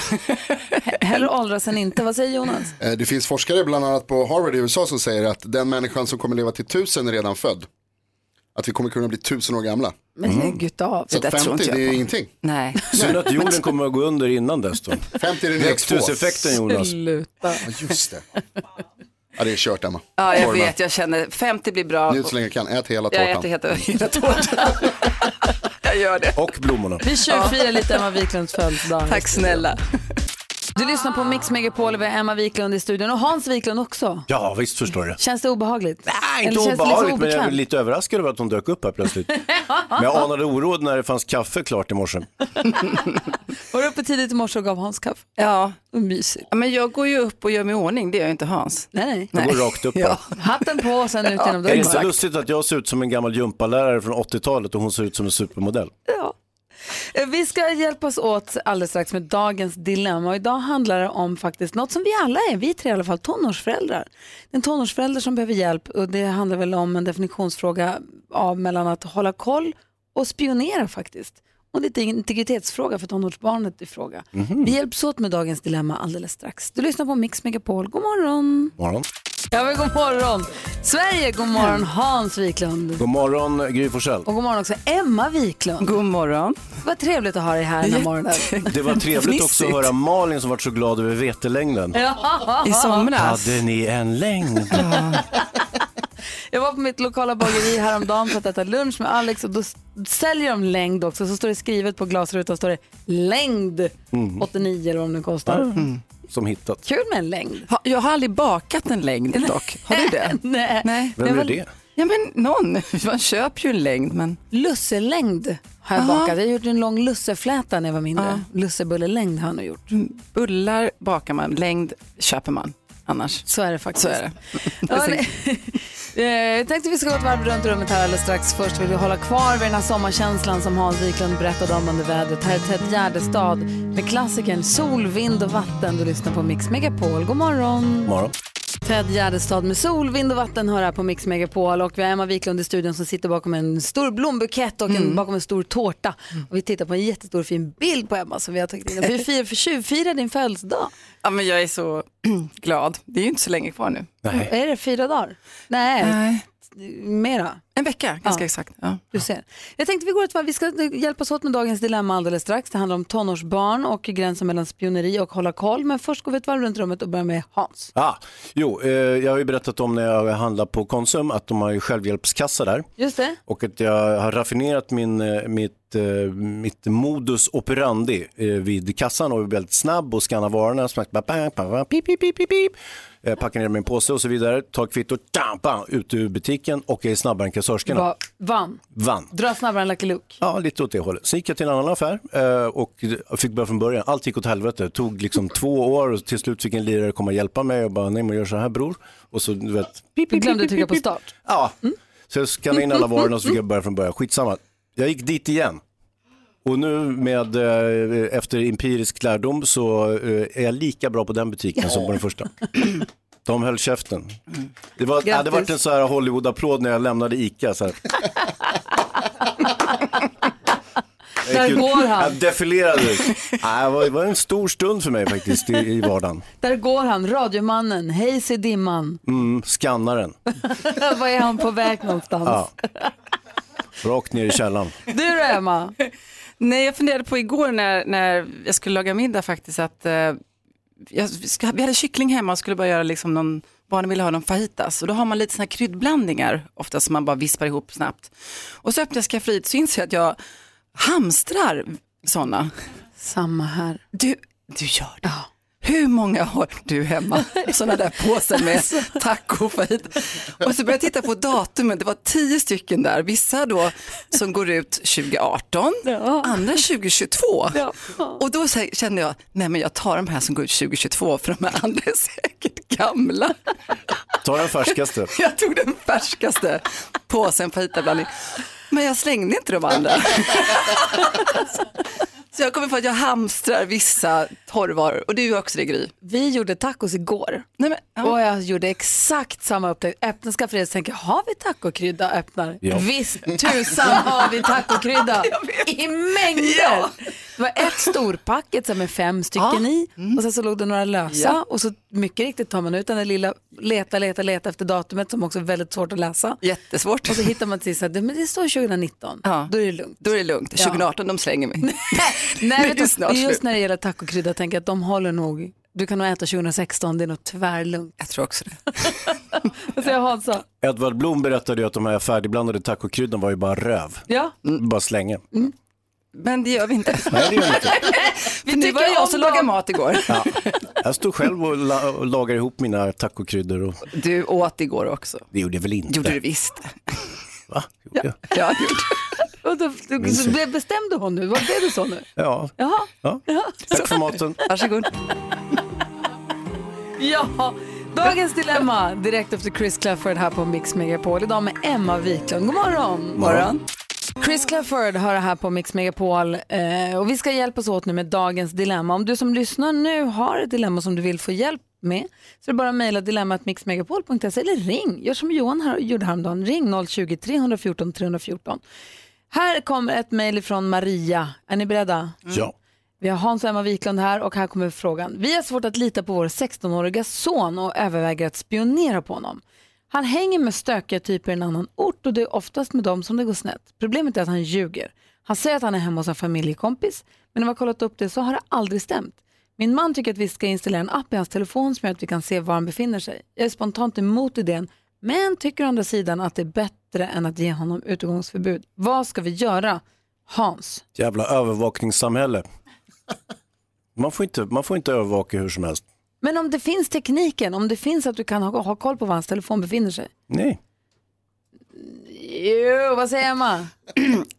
Hellre åldras än inte. Vad säger Mm. Jonas? Eh, Det finns forskare bland annat på Harvard i USA som säger att den människan som kommer leva till tusen är redan född. Att vi kommer kunna bli tusen år gamla. Men lägg av. Så att 50 det är ingenting. Nej. Synd att jorden kommer att gå under innan dess då. 50 är den Växthuseffekten Jonas. Sluta. Ja, just det. Ja, det är kört Emma. Ja, jag Korven. vet, jag känner 50 blir bra. Njut så länge du kan, ät hela Jag tårtan. äter hela- hela tårtan. jag gör det. Och blommorna. Vi tjuvfirar lite Emma Wiklunds födelsedag. Tack snälla. Du lyssnar på Mix Megapol och vi har Emma Wiklund i studion och Hans Wiklund också. Ja, visst förstår jag. Känns det obehagligt? Nej, Eller inte känns det obehagligt, liksom men jag är obekvämt? lite överraskad över att hon dök upp här plötsligt. Men jag anade oråd när det fanns kaffe klart i morse. Var du uppe tidigt i morse och gav Hans kaffe? Ja, Vad Mysigt. Ja, men jag går ju upp och gör mig i ordning, det gör ju inte Hans. Nej, nej. Jag går rakt upp här. Ja. Hatten på och sen ut genom Är det inte så dörren. lustigt att jag ser ut som en gammal gympalärare från 80-talet och hon ser ut som en supermodell? Ja. Eh, Vi ska hjälpas åt alldeles strax med dagens dilemma. Och idag handlar det om faktiskt något som vi alla är, vi tre i alla fall, tonårsföräldrar. En tonårsförälder som behöver hjälp och det handlar väl om en definitionsfråga av mellan att hålla koll och spionera faktiskt. Och det är en integritetsfråga för tonårsbarnet i fråga. Mhm. Vi hjälps åt med dagens dilemma alldeles strax. Du lyssnar på Mix Megapol. God morgon! Morgon. Ja, men god morgon! Sverige, god morgon Hans Wiklund. God morgon Gry Forssell. Och god morgon också Emma Wiklund. God morgon. Vad trevligt att ha dig här den här morgonen. Det var trevligt också att Fnissigt. höra Malin som var så glad över vetelängden. I somras. Hade ni en längd? Jag var på mitt lokala bageri häromdagen för att äta lunch med Alex och då s- säljer de längd också. Så står det skrivet på glasrutan står det längd 89 eller vad det kostar. Som hittat. Kul med en längd. Ha- Jag har aldrig bakat en längd dock. Har du det? Nej. Nej. Vem gör det? Ja men någon, man köper ju en längd men. Lusselängd har jag Aha. bakat. Jag har gjort en lång lussefläta när jag var mindre. Ja. Lussebullelängd har jag nog gjort. Bullar bakar man, längd köper man annars. Så är det faktiskt. Så är det. Ja, nej. Eh, Jag tänkte vi ska gå ett varv runt rummet här alldeles strax. Först vill vi hålla kvar vid den här sommarkänslan som Hans Wiklund berättade om under vädret. Här är Ted Gärdestad med klassikern Sol, vind och vatten. Du lyssnar på Mix Megapol. God morgon! Morgon. Ted Gärdestad med sol, vind och vatten hör här på Mix Megapol och vi har Emma Wiklund i studion som sitter bakom en stor blombukett och en, bakom en stor tårta. Och vi tittar på en jättestor fin bild på Emma som vi har tagit in. Och Vi firar, för tjuvfirar din födelsedag. Ja, men jag är så glad. Det är ju inte så länge kvar nu. Är det fyra dagar? Nej, Eh. mera. En vecka, ganska exakt. Ja. Du ser. Jag tänkte vi går ett varv, vi ska hjälpas åt med dagens dilemma alldeles strax. Det handlar om tonårsbarn och gränsen mellan spioneri och hålla koll. Men först går vi ett varv runt rummet och börjar med Hans. Ah, jo, eh, jag har ju berättat om när jag handlar på Konsum att de har ju självhjälpskassa där. Just det. Och att jag har raffinerat min, eh, mitt, eh, mitt modus operandi eh, vid kassan och är väldigt snabb och skannar varorna. Smack, ba, ba, ba, ba, pip, pip, pip, pip, pip. Eh, Packar ner min påse och så vidare, tar kvittot, tam, bam, ut ur butiken och är snabbare än kassörskorna. Va, vann. Vann. Dra snabbare än Lucky Luke. Ja, lite åt det hållet. Sen gick jag till en annan affär eh, och fick börja från början. Allt gick åt helvete. Det tog liksom två år och till slut fick en lirare komma och hjälpa mig och bara, nej men gör så här bror. Och så, du vet, Du glömde typ trycka på start. Ja, så jag skannade in alla varorna och så fick jag börja från början. Skitsamma. Jag gick dit igen. Och nu med, eh, efter empirisk lärdom så eh, är jag lika bra på den butiken som på den första. De höll käften. Det var, det hade Grattis. varit en så här Hollywood-applåd när jag lämnade ICA. Så här. Jag Där gick ut- går han. Jag defilerade ut. Nej, det var- Det var en stor stund för mig faktiskt i, i vardagen. Där går han, radiomannen, hejs i dimman. Mm, skannaren, Var är han på väg någonstans? ja. rakt ner i källaren. Du då Emma? Nej, jag funderade på igår när, när jag skulle laga middag faktiskt att eh, jag ska, vi hade kyckling hemma och skulle bara göra liksom någon, barnen ville ha någon fajitas och då har man lite såna här kryddblandningar ofta som man bara vispar ihop snabbt. Och så öppnade jag skafferiet så inser jag att jag hamstrar sådana. Samma här. Du, du gör det. Hur många har du hemma? Sådana där påsar med taco fajit. Och så började jag titta på datumen, det var tio stycken där. Vissa då som går ut 2018, andra 2022. Och då så här kände jag, nej men jag tar de här som går ut 2022 för de här andra är säkert gamla. Ta den färskaste. Jag tog den färskaste påsen fajitablandning. Men jag slängde inte de andra. Så jag kommer på att jag hamstrar vissa torrvaror och du gör också det Gry. Vi gjorde tacos igår. Nej, men, Och jag gjorde exakt samma upptäckt. Öppnar skafferiet och tänker, har vi tacokrydda? Öppnar. Ja. Visst tusan har vi tacokrydda. I mängder. Ja. Det var ett storpacket så här, med fem stycken i och sen så låg det några lösa Mm. Ja. och så mycket riktigt tar man ut den där lilla, leta, leta, leta efter datumet som också är väldigt svårt att läsa. Jättesvårt. Och så hittar man till så här, "Det- men det står 2019. Ja. Då är det lugnt. Då är det lugnt. 2018, de slänger mig. Nej, Det är vet du, snart just slut. när det gäller tacokrydda tänker jag att de håller nog. Du kan nog äta 2016, det är nog tvärlugnt. Jag tror också det. Vad Alltså, säger Hansa? Edvard Blom berättade ju att de här färdigblandade tacokryddan var ju bara röv. Ja. Mm. Bara slänga. Men det gör vi inte. Nej, det gör vi inte. För nu var det jag som lagade mat igår. Ja. Jag stod själv och, la- och lagade ihop mina tacokryddor. Och... Du åt igår också. Det gjorde jag väl inte? Gjorde du visst. Va? Gjorde jag? Ja, Och då, då, så blev- bestämde hon nu, vad blev det så nu? Ja. Jaha. ja. Tack för maten. Varsågod. Ja, dagens dilemma direkt efter Chris Clafford här på Mix Megapol. Idag med Emma Wiklund. God morgon! Morgon. Chris Clafford har det här på Mix Megapol eh, och vi ska hjälpas åt nu med dagens dilemma. Om du som lyssnar nu har ett dilemma som du vill få hjälp med så är det bara att mejla dilemmatmixmegapol.se eller ring. Gör som Johan här, gjorde häromdagen. Ring 020-314 314. Här kommer ett mejl från Maria. Är ni beredda? Ja. Vi har Hans och Emma Wiklund här och här kommer frågan. Vi har svårt att lita på vår 16-åriga son och överväger att spionera på honom. Han hänger med stökiga typer i en annan ort och det är oftast med dem som det går snett. Problemet är att han ljuger. Han säger att han är hemma hos en familjekompis, men när vi har kollat upp det så har det aldrig stämt. Min man tycker att vi ska installera en app i hans telefon som gör att vi kan se var han befinner sig. Jag är spontant emot idén, men tycker å andra sidan att det är bättre än att ge honom utegångsförbud. Vad ska vi göra? Hans. Jävla övervakningssamhälle. Man får, inte, man får inte övervaka hur som helst. Men om det finns tekniken, om det finns att du kan ha, ha koll på var hans telefon befinner sig. Nej. Jo, vad säger Emma?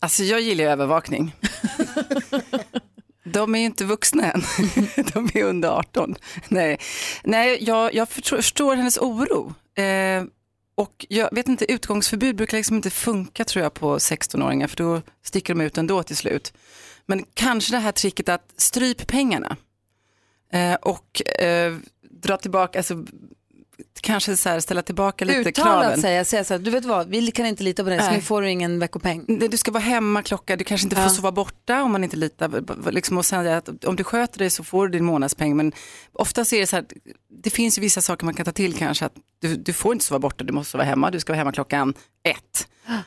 Alltså jag gillar ju övervakning. De är ju inte vuxna än. De är under 18. Nej, Nej jag, jag förstår, förstår hennes oro. Eh, Och jag vet inte, utgångsförbud brukar liksom inte funka tror jag på 16-åringar för då sticker de ut ändå till slut. Men kanske det här tricket att stryp pengarna eh, och eh, dra tillbaka, alltså kanske så här, ställa tillbaka lite kraven. Uttalat säga, säga så här, du vet vad, vi kan inte lita på dig så Nej. nu får du ingen veckopeng. Nej, Du ska vara hemma klockan, du kanske inte får Ja. sova borta om man inte litar. b- b- Liksom, och sen är det att om du sköter dig så får du din månadspeng. Men ofta är det så här, det finns ju vissa saker man kan ta till kanske. Att du, du får inte sova borta, du måste sova hemma, du ska vara hemma klockan ett.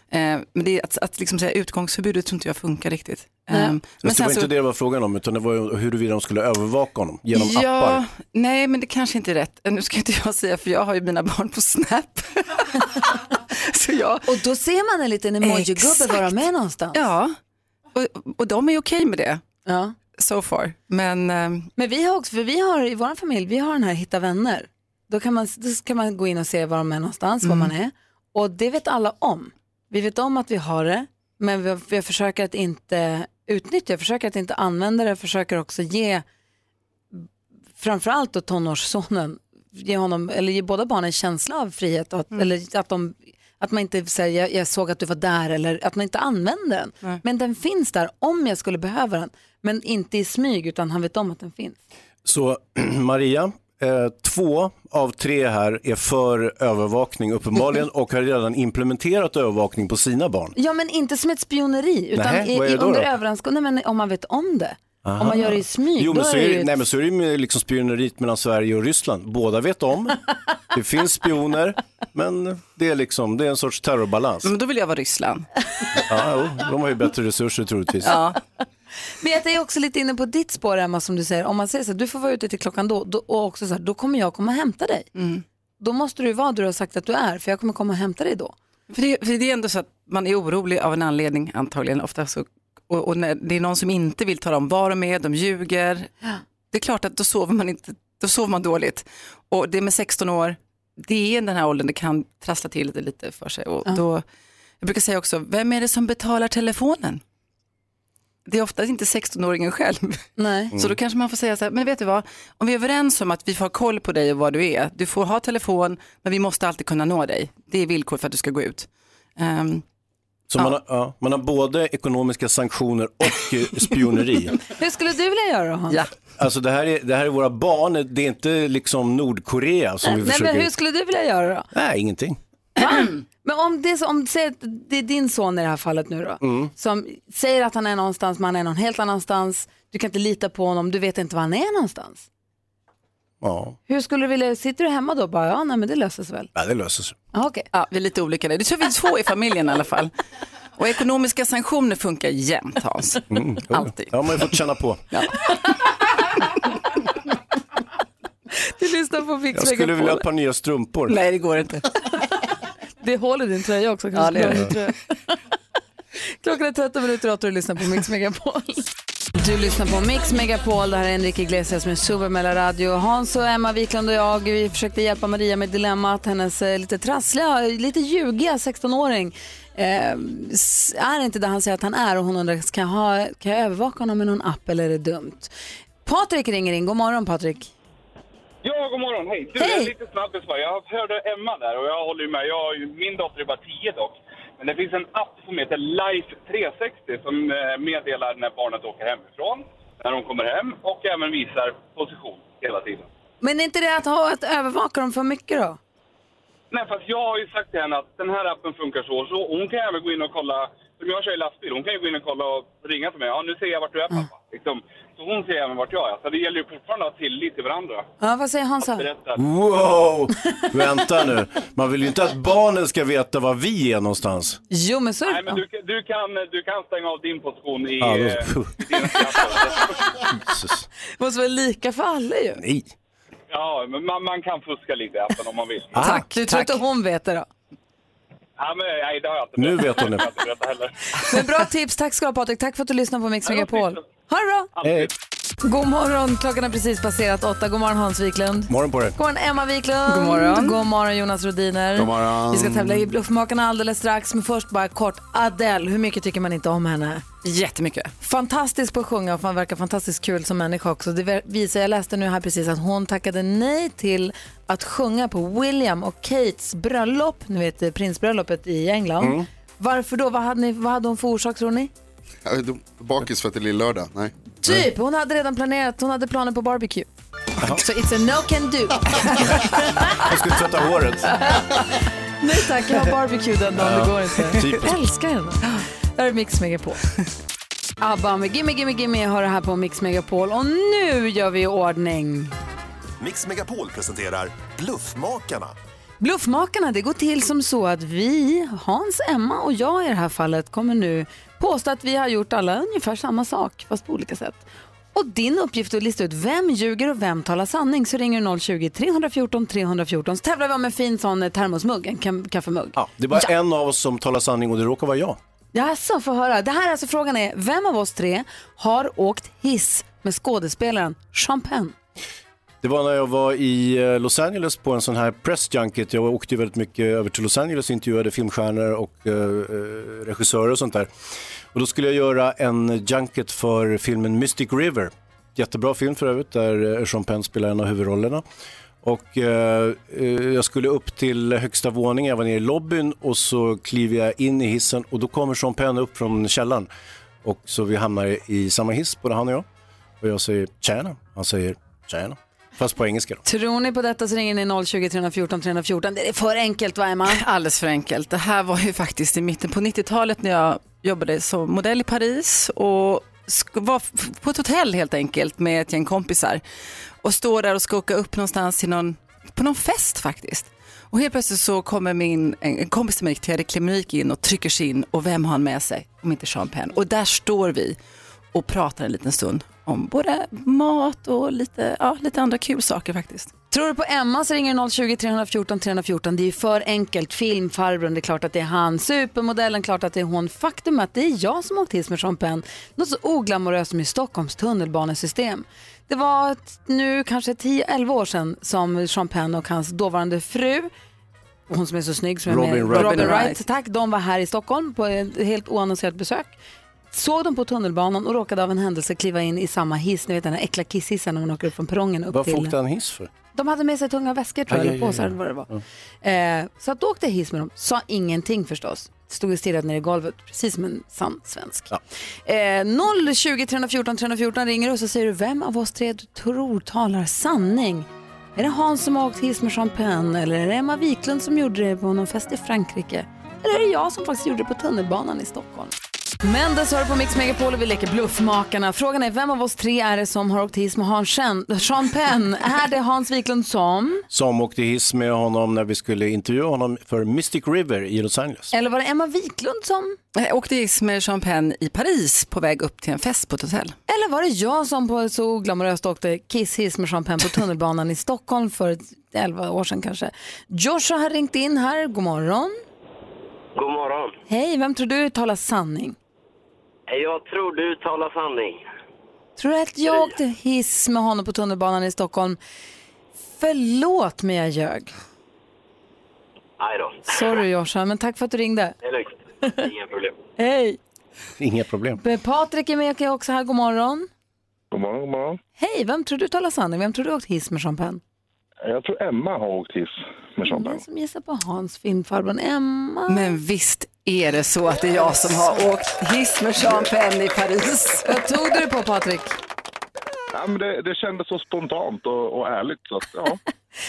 Eh, men det är att, att liksom säga utgångsförbudet tror inte jag funkar riktigt. Eh, Men det var inte det det var frågan om, utan det var ju huruvida de skulle övervaka honom genom appar. Nej, men det kanske inte är rätt. Eh, Nu ska inte jag säga, för jag har ju mina barn på Snap. så jag... Och då ser man en liten emoji-gubbe Exakt. vara med någonstans. Ja, och, och de är okej med det. Ja. So far. Men, ehm, Men vi har också, för vi har i vår familj, vi har den här hitta vänner. Då kan man, då kan man gå in och se var de är någonstans, var Mm. man är. Och det vet alla om. Vi vet om att vi har det, men vi, vi försöker att inte utnyttja, jag försöker att inte använda det, jag försöker också ge framförallt då tonårssonen, ge, honom, eller ge båda barnen en känsla av frihet. och Att, eller att, de, att man inte säger jag, jag såg att du var där eller att man inte använder den. Men den finns där om jag skulle behöva den. Men inte i smyg utan han vet om att den finns. Så Maria, eh, två av tre här är för övervakning uppenbarligen och har redan implementerat övervakning på sina barn. Ja men inte som ett spioneri utan Nähä, i, vad är i, det då under då? överenskom- nej, men om man vet om det. Aha. Om man gör det i smyg Jo, men då så är det ju ju, nej, men så är det ju med liksom spioneriet mellan Sverige och Ryssland. Båda vet om, det finns spioner, men det är, liksom, det är en sorts terrorbalans. Mm. men då vill jag vara Ryssland. Ja, jo, de har ju bättre resurser troligtvis. Men jag är också lite inne på ditt spår Emma som du säger, om man säger så här, du får vara ute till klockan då, då och också så här, då kommer jag komma och hämta dig. mm. Då måste du vara där du har sagt att du är, för jag kommer komma och hämta dig då. För det, för det är ändå så att man är orolig av en anledning antagligen. Ofta så, och, och när det är någon som inte vill tala om var de är, de ljuger. Det är klart att då sover man, inte, då sover man dåligt. Och det med 16 år, det är den här åldern det kan trassla till det lite för sig. Och då, jag brukar säga också, vem är det som betalar telefonen? Det är ofta inte 16-åringen själv. Nej. Så då kanske man får säga så här, men vet du vad, om vi är överens om att vi får ha koll på dig och var du är, du får ha telefon, men vi måste alltid kunna nå dig. Det är villkor för att du ska gå ut. Ehm, Så man, har, ja, man har både ekonomiska sanktioner och eh, spioneri. Hur skulle du vilja göra då Hans? Alltså det här, är, det här är våra barn, det är inte liksom Nordkorea som vi Nej, försöker... men hur skulle du vilja göra då? Nej, ingenting. Men om det, är så- om säg att det är din son i det här fallet nu då, Mm. som säger att han är någonstans, men han är någon helt annanstans, du kan inte lita på honom, du vet inte var han är någonstans. Ja. Hur skulle du vilja, sitter du hemma då och bara, ja nej men det löser sig väl? ja, det löser sig. Ja, okej. ja, vi är lite olika där. Det tror vi är två i familjen i alla fall. Och ekonomiska sanktioner funkar jämt Hans. Alltid. Ja, man har ju fått känna på. Du lyssnar på Mix Jag skulle Megapol. vilja ha ett par nya strumpor. Nej, det går inte. Det håller din tröja också. kanske. Ja, det gör det. Bra, tror jag. Klockan är 13 minuter åt och du lyssnar på Mix Megapol. Du lyssnar på Mix Megapol, det här är Enrique Iglesias med Supermela Radio. Hans och Emma Wiklund och jag, vi försökte hjälpa Maria med dilemmat. Hennes eh, lite trassliga, lite ljugiga 16-åring eh, s- är inte där han säger att han är och hon undrar, kan jag, ha, kan jag övervaka honom med någon app eller är det dumt? Patrik ringer in, god morgon Patrik. Ja, god morgon. Hej. Du, jag är lite snabbis bara. Jag hörde Emma där och jag håller ju med. Jag, har ju- min dotter är bara 10 dock. Men det finns en app som heter Life 360 som eh, meddelar när barnet åker hemifrån, när de kommer hem och även visar position hela tiden. Men är inte det att, ha, att övervaka dem för mycket då? Nej, fast jag har ju sagt till henne att den här appen funkar så och så. Och Hon kan även gå in och kolla, som jag kör i lastbil, hon kan ju gå in och kolla och ringa till mig. Ja, nu ser jag vart du är pappa. Mm. Liksom. Så hon ser även vart jag är. Så det gäller ju fortfarande att ha tillit till varandra. Ja, vad säger Hansa? Berätta. Wow! Vänta nu. Man vill ju inte att barnen ska veta var vi är någonstans. Jo, men så är det. Nej, men du, du, kan, du kan stänga av din position i... Ja, då- eh, Jesus. Det måste vara lika för alla ju. Nej. Ja, men man, man kan fuska lite i appen om man vill. Ah, tack, du tror inte hon vet det då? Ja, men, nej, det har jag inte Nu berättat. vet hon det. Jag har inte berättat heller. Men bra tips, tack ska du ha Patrik. Tack för att du lyssnade på Mix Megapol. Ha det bra. Hej. God morgon, klockan har precis passerat åtta. God morgon Hans Wiklund. Morgon på dig. God morgon Emma Wiklund. God morgon. God morgon Jonas Rodiner. God morgon. Vi ska tävla i Bluffmakarna alldeles strax. Men först bara kort, Adele, hur mycket tycker man inte om henne? Jättemycket. Fantastisk på att sjunga och fan verkar fantastiskt kul som människa också. Det ver- visar, jag läste nu här precis att hon tackade nej till att sjunga på William och Kates bröllop, ni vet eh, prinsbröllopet i England. Mm. Varför då? Vad hade, ni, vad hade hon för orsak tror ni? Jag är dum- Bakis för att det är lill-lördag. Nej. Typ, hon hade redan planerat, hon hade planer på barbecue. Så it's a no can do. Jag skulle tvätta håret. Nej tack, jag har barbecue den dagen, det Ja, går inte. typiskt. Jag älskar henne. Där är Mix Megapol. ABBA med Gimme Gimme Gimme har det här på Mix Megapol och nu gör vi i ordning. Mix Megapol presenterar Bluffmakarna. Bluffmakarna, det går till som så att vi, Hans, Emma och jag i det här fallet kommer nu påstå att vi har gjort alla ungefär samma sak, fast på olika sätt. Och din uppgift är att lista ut vem ljuger och vem talar sanning. Så ringer du 020-314 314 så tävlar vi om en fin sån eh, termosmugg, en kam- kaffemugg. Ja, Det är bara en av oss som talar sanning och det råkar vara jag. Jaså, få höra. Det här är alltså frågan är, vem av oss tre har åkt hiss med skådespelaren Sean Penn? Det var när jag var i eh, Los Angeles på en sån här press junket. Jag åkte ju väldigt mycket över till Los Angeles och intervjuade filmstjärnor och eh, eh, regissörer och sånt där. Och då skulle jag göra en junket för filmen Mystic River. Jättebra film för övrigt där eh, Sean Penn spelar en av huvudrollerna. Och eh, eh, jag skulle upp till högsta våningen, jag var nere i lobbyn och så kliver jag in i hissen och då kommer Sean Penn upp från källaren. Och så vi hamnar i samma hiss, både han och jag. Och jag säger tjena, han säger tjena. Fast på engelska då. Tror ni på detta så ringer ni 020 314 314. Det är för enkelt va Emma? Alldeles för enkelt. Det här var ju faktiskt i mitten på 90-talet när jag jobbade som modell i Paris och sk- var f- på ett hotell helt enkelt med ett gäng kompisar och står där och ska åka upp någonstans till någon, på någon fest faktiskt. Och helt plötsligt så kommer min en en kompis till mig, Thierry Klemyk, in och trycker sig in och vem har han med sig om inte Sean Penn? Och där står vi och pratar en liten stund om både mat och lite, ja, lite andra kul saker faktiskt. Tror du på Emma så ringer 020 314 314. Det är ju för enkelt. Filmfarbrorn, det är klart att det är han. Supermodellen, klart att det är hon. Faktum är att det är jag som åkt hiss med Sean Penn. Något så oglamoröst som i Stockholms tunnelbanesystem. Det var ett- nu kanske 10-11 år sedan som Sean Penn och hans dåvarande fru hon som är så snygg som är Robin med, Wright. Robin Robin Wright. Wright. Tack, de var här i Stockholm på ett helt oannonserat besök. Såg dem på tunnelbanan och råkade av en händelse kliva in i samma hiss, ni vet den här äckla kisshissen när man åker upp från perrongen upp Varför till... åkte han hiss för? De hade med sig tunga väskor tror jag, eller påsar eller vad det var. Ja. Eh, så att då åkte jag hiss med dem, sa ingenting förstås. Stod och stirrade ner i golvet, precis som en sann svensk. Eh, 020 314 314 ringer och så säger du vem av oss tre du tror talar sanning? Är det Hans som har åkt hiss med Sean Penn eller är det Emma Wiklund som gjorde det på någon fest i Frankrike? Eller är det jag som faktiskt gjorde det på tunnelbanan i Stockholm? Men det svarar på Mix Megapol och vi leker Bluffmakarna. Frågan är vem av oss tre är det som har åkt hiss med Hans Chen- Sean Penn? är det Hans Wiklund som? Som åkte hiss med honom när vi skulle intervjua honom för Mystic River i Los Angeles. Eller var det Emma Wiklund som? Jag Eh, åkte hiss med Sean Penn i Paris på väg upp till en fest på ett hotell. Eller var det jag som på så oglamoröst åkte kisshiss med Sean Penn på tunnelbanan i Stockholm för 11 år sedan kanske? Joshua har ringt in här, god morgon. God morgon. Hej, vem tror du talar sanning? Jag tror du talar sanning. Tror du att jag åkte hiss med honom på tunnelbanan i Stockholm? Förlåt mig, jag ljög. Nej då. Sorry Joshua, men tack för att du ringde. Det är lugnt. Inga problem. Hej! Inga problem. Patrik är med också här, god morgon. God morgon, god morgon. Hej, vem tror du talar sanning? Vem tror du åkt hiss med Sean Penn? Jag tror Emma har åkt hiss med Sean Penn. Som gissar på Hans, filmfarbrorn Emma. Men visst är det så att det är jag som har åkt hiss med Sean Penn i Paris. Vad tog du på Patrik? Ja, men det, det kändes så spontant och, och ärligt. Så att, ja.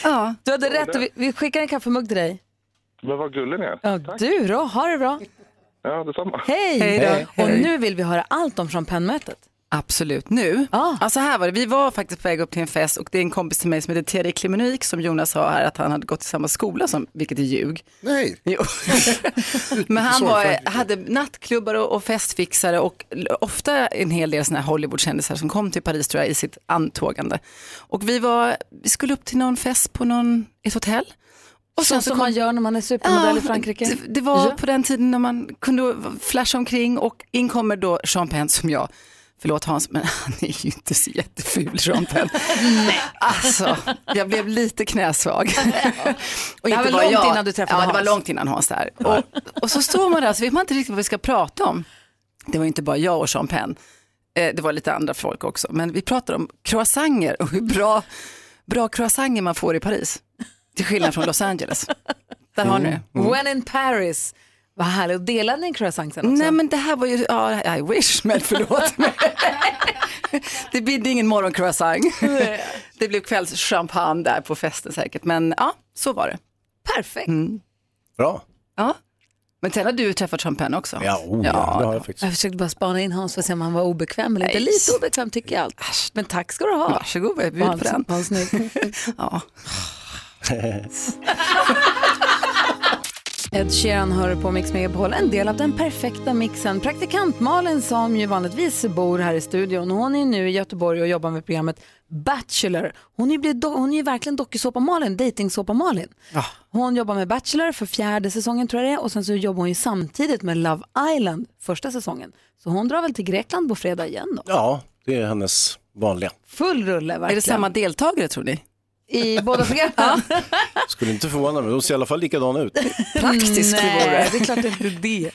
Ja. Du hade Ja, rätt det- och vi, vi skickar en kaffemugg till dig. Men vad gullig ni är. Ja, du då, ha det bra. Ja, detsamma. Hej! Och nu vill vi höra allt om Sean Penn-mötet. Absolut, nu. Ah. Alltså här var det, vi var faktiskt på väg upp till en fest och det är en kompis till mig som heter Thierry Klemenik som Jonas sa här att han hade gått i samma skola som, vilket är ljug. Nej. Jo. Men han Så var, Frankrike. hade nattklubbar och, och festfixare och l- ofta en hel del såna här Hollywoodkändisar som kom till Paris tror jag i sitt antågande. Och vi, var, vi skulle upp till någon fest på någon, ett hotell. Och så, Ah, som man gör när man är supermodell i Frankrike. Det, det var Ja. på den tiden när man kunde flasha omkring och in kommer då Sean Penn som jag Förlåt Hans, men han är ju inte så jätteful rompen. Nej. Alltså, jag blev lite knäsvag. Det här var inte bara långt innan du träffade Ja, det Hans. var långt innan Hans där. Och, och så står man där så vet man inte riktigt vad vi ska prata om. Det var ju inte bara jag och Sean Penn. Eh, det var lite andra folk också. Men vi pratade om croissanger och hur bra, bra croissanger man får i Paris. Till skillnad från Los Angeles. Där har ni det. When in Paris. Vad härligt. Och delade ni en croissant sen också? Nej men det här var ju, ja I wish, men förlåt. det bidde ingen morgoncroissant. det blev kvällschampagne där på festen säkert, men ja, så var det. Perfekt. Bra. Ja. Men sen har du träffat champagne också. Ja, oh, ja, det har jag Jag faktiskt. försökte bara spana in Hans för att se om han var obekväm eller inte. Nej. Lite obekväm tycker jag allt. Men tack ska du ha. Varsågod, jag bjuder Hans, på den. Hans, nu. ja. Ed Sheeran hör på Mix Megapol, en del av den perfekta mixen. Praktikant Malin som ju vanligtvis bor här i studion, hon är nu i Göteborg och jobbar med programmet Bachelor. Hon är ju, blivit do- hon är ju verkligen dokusåpa-Malin, dejtingsåpa-Malin. Hon jobbar med Bachelor för fjärde säsongen tror jag det är och sen så jobbar hon ju samtidigt med Love Island första säsongen. Så hon drar väl till Grekland på fredag igen då. Ja, det är hennes vanliga. Full rulle verkligen. Är det samma deltagare tror ni? I båda programmen? Skulle inte förvåna mig, de ser i alla fall likadana ut. Praktiskt det vore. Nej, det är klart inte det.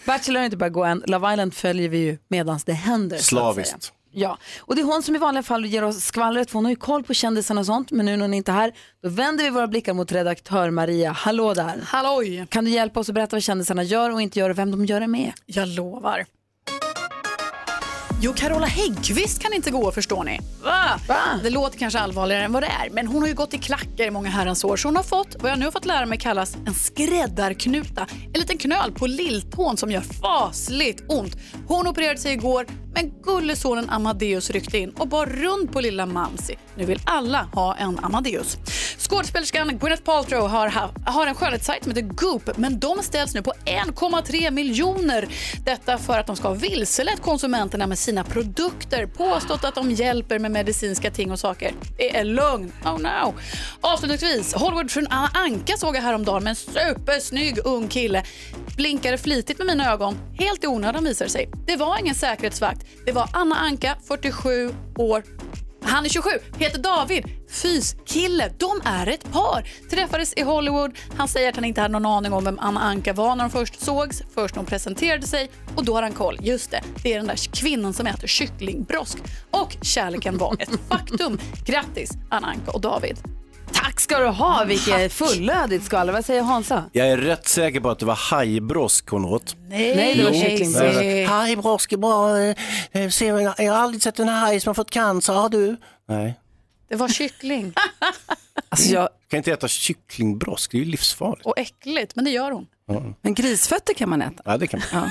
Bachelor har inte börjat gå än, Love Island följer vi ju medans det händer. så att säga. Slaviskt. Ja, och det är hon som i vanliga fall ger oss skvallret för hon har ju koll på kändisarna och sånt men nu när hon inte är här då vänder vi våra blickar mot redaktör Maria. Hallå där! Halloj! Kan du hjälpa oss att berätta vad kändisarna gör och inte gör och vem de gör det med? Jag lovar. Jo, Carola Häggkvist kan inte gå förstår ni. Va? Det låter kanske allvarligare än vad det är, men hon har ju gått i klackar i många herrans år så hon har fått vad jag nu har fått lära mig kallas en skräddarknuta. En liten knöl på lilltån som gör fasligt ont. Hon opererade sig igår, men gullesonen Amadeus ryckte in och bar runt på lilla Mamsi. Nu vill alla ha en Amadeus. Skådespelerskan Gwyneth Paltrow har, ha, har en skönhetssajt som heter Goop men de ställs nu på 1,3 miljoner. Detta för att de ska ha vilselett konsumenterna med sina produkter påstått att de hjälper med medicinska ting och saker. Det är lögn. Oh no. Avslutningsvis, Hollywoodfrun Anna Anka såg jag häromdagen med en supersnygg ung kille. Blinkade flitigt med mina ögon, helt i onödan visar det sig. Det var ingen säkerhetsvakt. Det var Anna Anka, 47 år, han är 27, heter David, fyskille. De är ett par. Träffades i Hollywood. Han säger att han inte hade någon aning om vem Anna Anka var när de först sågs. Först när hon presenterade sig och då har han koll. Just det, det är den där kvinnan som äter kycklingbrosk. Och kärleken var ett faktum. Grattis Anna Anka och David. Tack ska du ha, vilket fullödigt skvaller. Vad säger Hansa? Jag är rätt säker på att det var hajbrosk hon åt. Nej, det var Jo. kycklingbrosk. Hajbrosk är bra. Eh, ser jag- Jag har aldrig sett en haj som har fått cancer, har du? Nej. Det var kyckling Du kan inte äta kycklingbrosk, det är ju livsfarligt. och äckligt, men det gör hon. Ja. Men grisfötter kan man äta. Ja, det kan man.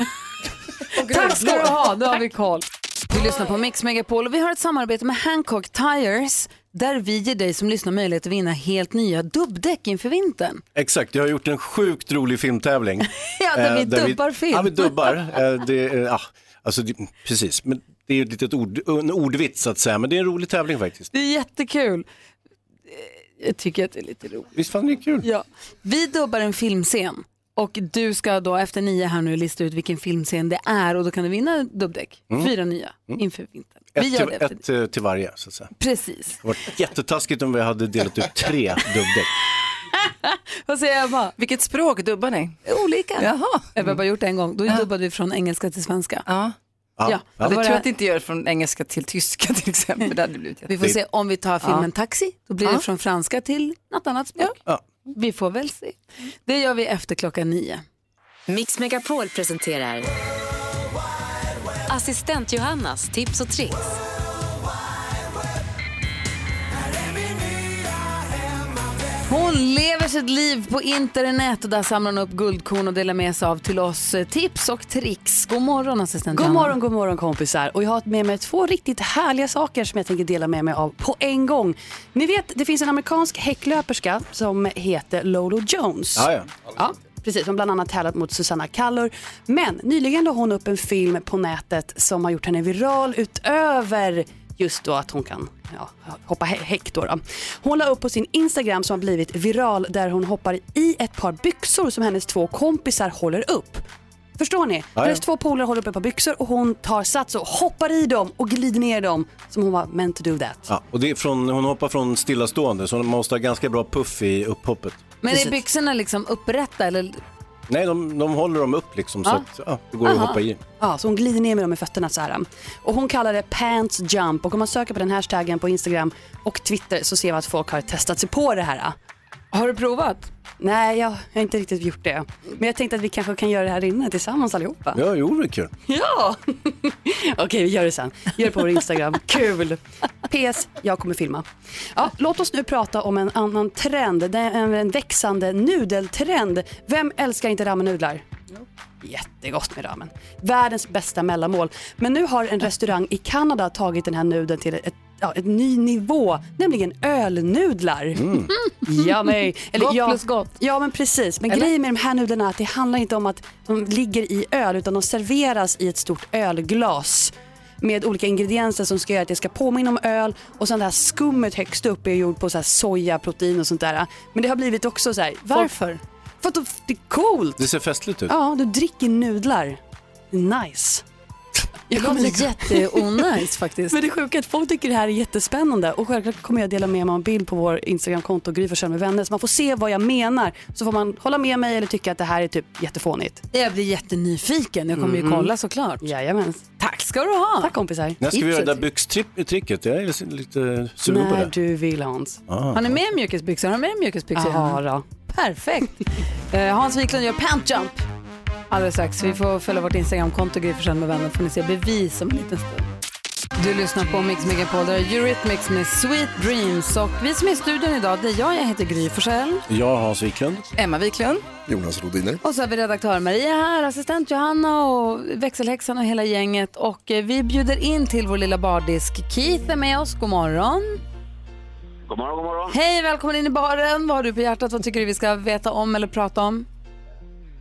Tack ska du ha, då har vi koll. Du lyssnar på Mix Megapol och vi har ett samarbete med Hancock Tires där vi ger dig som lyssnar möjlighet att vinna helt nya dubbdäck inför vintern. Exakt, jag har gjort en sjukt rolig filmtävling. Ja, där vi Eh, dubbar film. Ja, vi dubbar. Eh, det, eh, ja, alltså, det, precis, men det är ju ett litet ord, en ordvits så att säga, men det är en rolig tävling faktiskt. Det är jättekul. Eh, Jag tycker att det är lite roligt. Visst fan det är kul? Ja. Vi dubbar en filmscen och du ska då efter nio här nu lista ut vilken filmscen det är och då kan du vinna dubbdäck. Mm. Fyra nya Mm. inför vintern. Ett, Vi gör det till, efter. ett eh, till varje, så att säga. Precis. Det hade varit jättetaskigt om vi hade delat ut tre dubbdäck. Vad säger Ebba? Vilket språk dubbar ni? Olika. Jaha. Ebba har bara gjort det en gång. Då dubbade vi från engelska till svenska. Ja. Ja. Ja, det Var tror jag att det inte gör från engelska till tyska till exempel. Det hade blivit Vi får se om vi tar filmen Ja. Taxi. Då blir det Ja. från franska till något annat språk. Ja. Vi får väl se. Det gör vi efter klockan nio. Mix Megapol presenterar Assistent Johannas tips och tricks. Hon lever sitt liv på internet och där samlar hon upp guldkorn och delar med sig av till oss eh, tips och tricks. God morgon assistent God Johanna. morgon, god morgon kompisar. Och jag har med mig två riktigt härliga saker som jag tänker dela med mig av på en gång. Ni vet, det finns en amerikansk häcklöperska som heter Lolo Jones. Ja, ja. Ja, precis. Som bland annat tävlat mot Susanna Kallur. Men nyligen la hon upp en film på nätet som har gjort henne viral utöver just då att hon kan ja, hoppa hä- häck. Då då. Hon la upp på sin Instagram som har blivit viral där hon hoppar i ett par byxor som hennes två kompisar håller upp. Förstår ni? ja. Hennes två polare håller upp ett par byxor och hon tar sats och hoppar i dem och glider ner i dem som hon var meant to do that. Ja, och det är från, hon hoppar från stillastående så hon måste ha ganska bra puff i upphoppet. Men är byxorna liksom upprätta eller? Nej, de, de håller dem upp liksom så Ja. att ja, det går Aha. att hoppa i. Ja, så hon glider ner med dem i fötterna så här. Och hon kallar det pants jump och om man söker på den hashtaggen på Instagram och Twitter så ser man att folk har testat sig på det här. Har du provat? Nej, jag har inte riktigt gjort det. Men jag tänkte att vi kanske kan göra det här inne tillsammans allihopa. Ja, jo, det är kul. Ja! Okej, vi gör det sen. Gör det på vår Instagram. Kul! PS, jag kommer filma. Ja, låt oss nu prata om en annan trend. Det är en växande nudeltrend. Vem älskar inte ramen-nudlar? Jättegott med ramen. Världens bästa mellanmål. Men nu har en restaurang i Kanada tagit den här nudeln till ett Ja, ett ny nivå, nämligen ölnudlar. Mm. Yummy. Gott plus gott. Ja, men precis. Men Eller? grejen med de här nudlarna är att det handlar inte om att de ligger i öl utan de serveras i ett stort ölglas med olika ingredienser som ska göra att det ska påminna om öl och sen det här skummet högst upp är gjort på så här soja, protein och sånt där. Men det har blivit också så här, varför? För att de- det är coolt. Det ser festligt ut. Ja, du dricker nudlar. Nice. Det låter jätteonajs faktiskt. Men det sjuka är att folk tycker det här är jättespännande och självklart kommer jag dela med mig av en bild på vår Instagramkonto Gry Forssell med vänner så man får se vad jag menar så får man hålla med mig eller tycka att det här är typ jättefånigt. Jag blir jättenyfiken. Jag kommer ju Mhm. kolla såklart. Jajamän. Tack ska du ha. Tack kompisar. När ska vi göra det där byxtricket? Jag är lite sugen på När det. du vill Hans. Ah. Har ni med mjukisbyxor? Har ni med mjukisbyxor? Ja, då. Perfekt. Eh, Hans Wiklund gör pant jump. Alldeles strax. Vi får följa vårt Instagramkonto Gry Forssell med vänner får ni se bevis om en liten stund. Du lyssnar på Mix Megapol, där är Eurythmics med Sweet Dreams. Och vi som är i studion idag, det är jag, jag heter Gry Forssell. Jag, Hans Wiklund. Emma Wiklund. Jonas Rodiner. Och så har vi redaktör Maria här, assistent Johanna och växelhäxan och hela gänget. Och eh, vi bjuder in till vår lilla bardisk. Keith är med oss, god morgon. God morgon, god morgon. Hej, välkommen in i baren. Vad har du på hjärtat? Vad tycker du vi ska veta om eller prata om?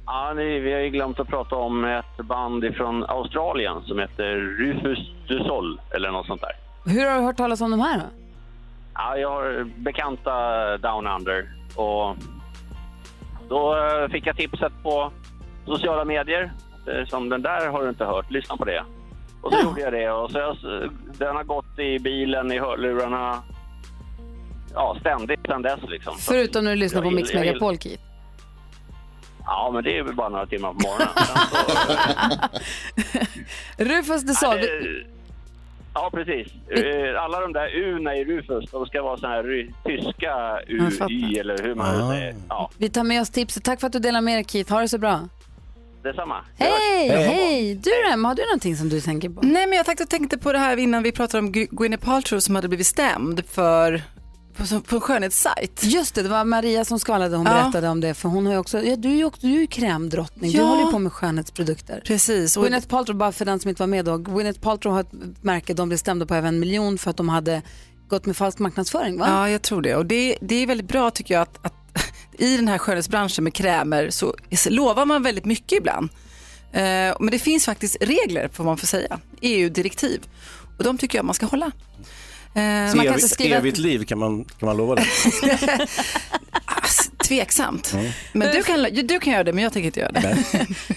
Ja, ni, vi har ju glömt att prata om ett band från Australien som heter Rufus du Sol eller något sånt där. Hur har du hört talas om de här då? Ja, jag har bekanta Down Under och då eh, fick jag tipset på sociala medier eh, som den där har du inte hört, lyssna på det. Och så gjorde jag det och så jag, den har gått i bilen, i hörlurarna, ja ständigt sedan dess liksom. Så- Förutom när du lyssnar jag på gill- Mix jag gill- Megapol, Keith. Ja, men det är väl bara några timmar på morgonen. Rufus de Sol. Nej, det- Ja, precis. Eh, Alla de där U'na i Rufus, de ska vara såna här ry- tyska U, Jag fattar. Y eller hur man nu säger. Ja, Vi tar med oss tipset. Tack för att du delar med dig, Keith. Ha det så bra. detsamma. Hej, Hej. hej! Du då, Emma, har du någonting som du tänker på? Nej, men jag tänkte, tänkte på det här innan vi pratade om Gry- Gwyneth Paltrow som hade blivit stämd för, på, på en skönhetssajt. Just det, det var Maria som skvallrade. Hon Ja. berättade om det, för hon har ju också, ja, du är ju också, du är ju krämdrottning. Du Ja. håller ju på med skönhetsprodukter. Precis. Och- Gwyneth Paltrow, bara för den som inte var med då, Gwyneth Paltrow har ett märke, de blev stämda på över en miljon för att de hade gått med falsk marknadsföring, va? Ja, jag tror det. Och det, det är väldigt bra tycker jag att, att i den här skönhetsbranschen med krämer så lovar man väldigt mycket ibland. Eh, men det finns faktiskt regler, får man får säga, EU-direktiv. Och de tycker jag man ska hålla. Eh, Så evigt, evigt liv, kan man, kan man lova det? tveksamt. Mm. Men du kan, du kan göra det, men jag tänker inte göra det.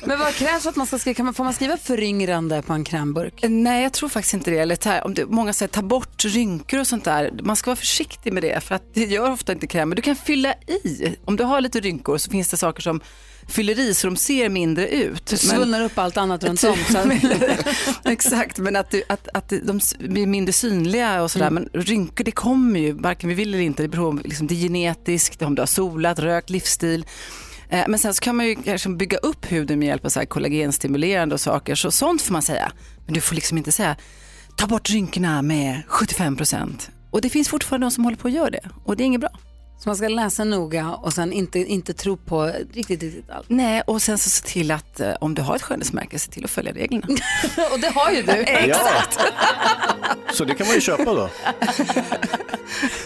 Men vad krävs för att man ska skriva, kan man, får man skriva föryngrande på en krämburk? Eh, Nej, jag tror faktiskt inte det. Eller ta, om det många säger ta bort rynkor och sånt där. Man ska vara försiktig med det för att det gör ofta inte kräm. Men du kan fylla i. Om du har lite rynkor så finns det saker som fyller i så de ser mindre ut. Du svullnar upp allt annat runt om. Så att- Typ. Exakt, men att, du, att, att de s- blir mindre synliga och sådär. Men rynkor, det kommer ju, varken vi vill eller inte. Det beror på, liksom, det är genetiskt, det är om du har solat, rökt, livsstil. Eh, Men sen så kan man ju kanske bygga upp huden med hjälp av så här kollagenstimulerande och saker. Så sånt får man säga. Men du får liksom inte säga, ta bort rynkorna med 75 procent. Och det finns fortfarande de som håller på och gör det. Och det är inget bra. Så man ska läsa noga och sen inte, inte tro på riktigt, riktigt allt. Nej, och sen så se till att eh, om du har ett skönhetsmärke, se till att följa reglerna. och det har ju du. Exakt. Så det kan man ju köpa då.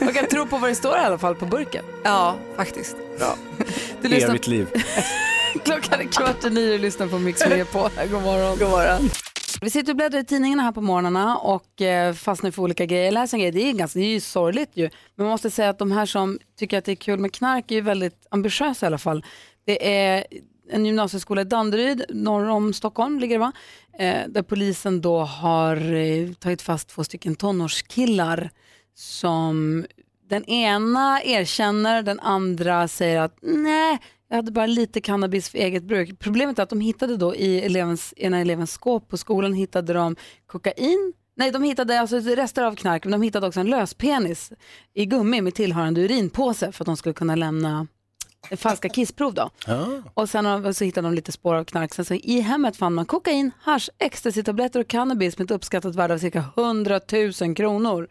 Man kan tro på vad det står i alla fall på burken. Ja, faktiskt. Ja. Du lyssnar- Evigt liv. Klockan är kvart i nio och lyssnar på Mix på. God morgon. God morgon. Vi sitter och bläddrar i tidningarna här på morgnarna och eh, fastnar för olika grejer. Jag läser en grej, det är, ganska, det är ju sorgligt ju. Men man måste säga att de här som tycker att det är kul med knark är ju väldigt ambitiösa i alla fall. Det är en gymnasieskola i Danderyd, norr om Stockholm ligger det va? Eh, där polisen då har eh, tagit fast två stycken tonårskillar som den ena erkänner, den andra säger att nej, jag hade bara lite cannabis för eget bruk. Problemet är att de hittade då i elevens, ena elevens skåp på skolan hittade de kokain, nej de hittade alltså rester av knark, men de hittade också en löspenis i gummi med tillhörande urinpåse för att de skulle kunna lämna falska kissprov då. Och sen har- så hittade de lite spår av knark. Sen så i hemmet fann man kokain, hasch, ecstasy-tabletter och cannabis med ett uppskattat värde av cirka 100 000 kronor.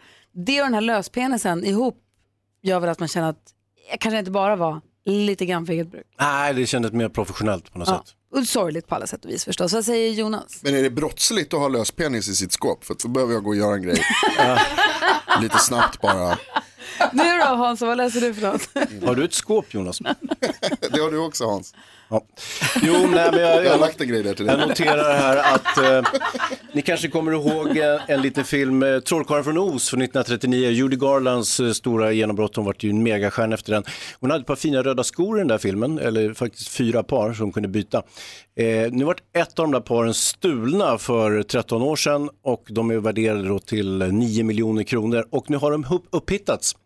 Det och den här löspenisen ihop gör väl att man känner att jag kanske inte bara var lite grann för eget bruk. Nej, det kändes mer professionellt på något sätt. Och sorgligt på alla sätt och vis förstås. Vad säger Jonas? Men är det brottsligt att ha löspenis i sitt skåp? För då behöver jag gå och göra en grej. Lite snabbt bara. Nu då Hans, vad läser du för något? Har du ett skåp Jonas? Det har du också Hans. Ja. Jo, nej, men jag, Jag har lagt en grej där till dig. Jag noterar här att eh, ni kanske kommer ihåg eh, en liten film, eh, Trollkarlen från Oz från 1939, Judy Garlands eh, stora genombrott, hon vart ju en megastjärna efter den. Hon hade ett par fina röda skor i den där filmen, eller faktiskt fyra par som hon kunde byta. Eh, nu vart ett av de där paren stulna för 13 år sedan och de är värderade då till eh, 9 miljoner kronor och nu har de upp- upphittats.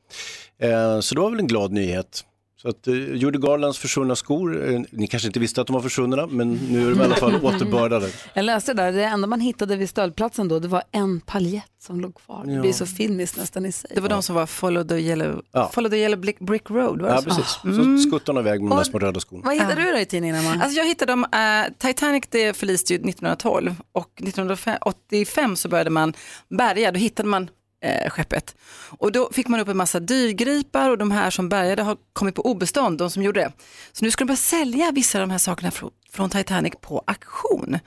Eh, så det var väl en glad nyhet. Så att eh, Judy Garlands försvunna skor, eh, ni kanske inte visste att de var försvunna men nu är de i alla Mm. fall återbördade. Jag läste där, det enda man hittade vid stöldplatsen då, det var en paljett som låg kvar. Det Ja. blir så filmiskt nästan i sig. Det var de som var follow the yellow, Ja. follow the yellow brick, brick road. Var det Ja, så? precis. Mm. Så skuttarna iväg med de där små röda skorna. Vad hittade du då i tidningen Emma? Alltså jag hittade dem, eh, Titanic det förliste ju 1912 och 1985 så började man bärga, då hittade man eh, skeppet. Och då fick man upp en massa dyrgripar och de här som bärgade har kommit på obestånd, de som gjorde det. Så nu ska de börja sälja vissa av de här sakerna fro- från Titanic på auktion.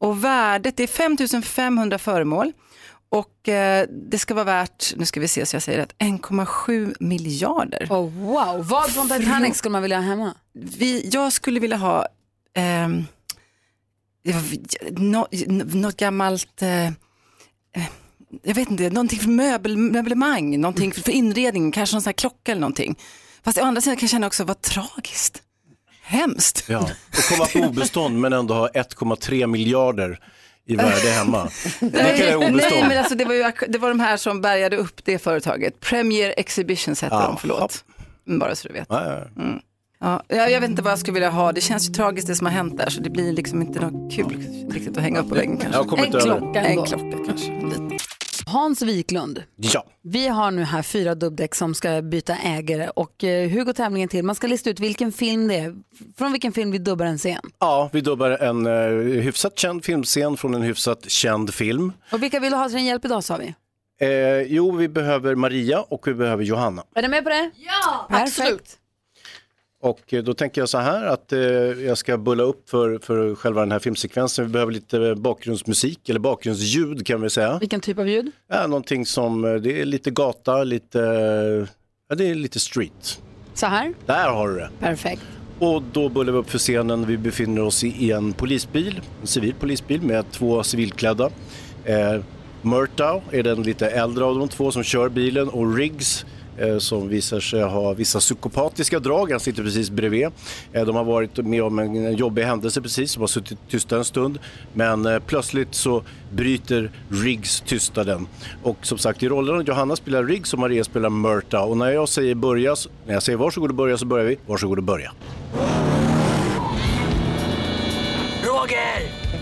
Och värdet det är 5500 föremål och eh, det ska vara värt, nu ska vi se så jag säger rätt, 1,7 miljarder. Oh, wow, vad från Titanic skulle man vilja ha hemma? Vi, jag skulle vilja ha ehm, det var- nå- något gammalt, eh, eh, jag vet inte, någonting för möbel, möblemang, någonting för, för inredning, kanske någon sån här klocka eller någonting. Fast å andra sidan kan jag känna också, vad tragiskt, hemskt. Ja. Och komma på obestånd men ändå ha 1,3 miljarder i värde hemma. Det kan jag nej, obestånd. men alltså det var, ju, det var de här som bärgade upp det företaget. Premier Exhibitions hette Ja. de, förlåt. Mm, Bara så du vet. Ja, ja, ja. Ja, jag jag vet inte vad jag skulle vilja ha, det känns ju tragiskt det som har hänt där så det blir liksom inte något kul riktigt att hänga upp på väggen kanske. Jag kommer inte en över det. klocka, en ändå. klocka kanske. Lite. Hans Wiklund, Ja. vi har nu här fyra dubbdäck som ska byta ägare och eh, hur går tävlingen till? Man ska lista ut vilken film det är, från vilken film vi dubbar en scen. ja, vi dubbar en eh, hyfsat känd filmscen från en hyfsat känd film. Och vilka vill du ha sin hjälp idag sa vi? Eh, jo, vi behöver Maria och vi behöver Johanna. Är ni med på det? Ja! Perfekt. Och eh, då tänker jag så här att eh, jag ska bulla upp för, för själva den här filmsekvensen. Vi behöver lite eh, bakgrundsmusik eller bakgrundsljud kan vi säga. Vilken typ av ljud? Ja, någonting som, eh, det är lite gata, lite, eh, ja, det är lite street. Så här? Där har du det. Perfekt. Och då bullar vi upp för scenen. Vi befinner oss i en polisbil, en civil polisbil med två civilklädda. Eh, Murtaugh är den lite äldre av de två som kör bilen och Riggs eh, som visar sig ha vissa psykopatiska drag. Han sitter precis bredvid. Eh, de har varit med om en jobbig händelse precis, de har suttit tysta en stund. Men eh, plötsligt så bryter Riggs tystnaden. Och som sagt, i rollerna Johanna spelar Riggs och Maria spelar Murtaugh. Och när jag säger börja, så- när jag säger varsågod och börja så börjar vi. Varsågod och börja. Roger!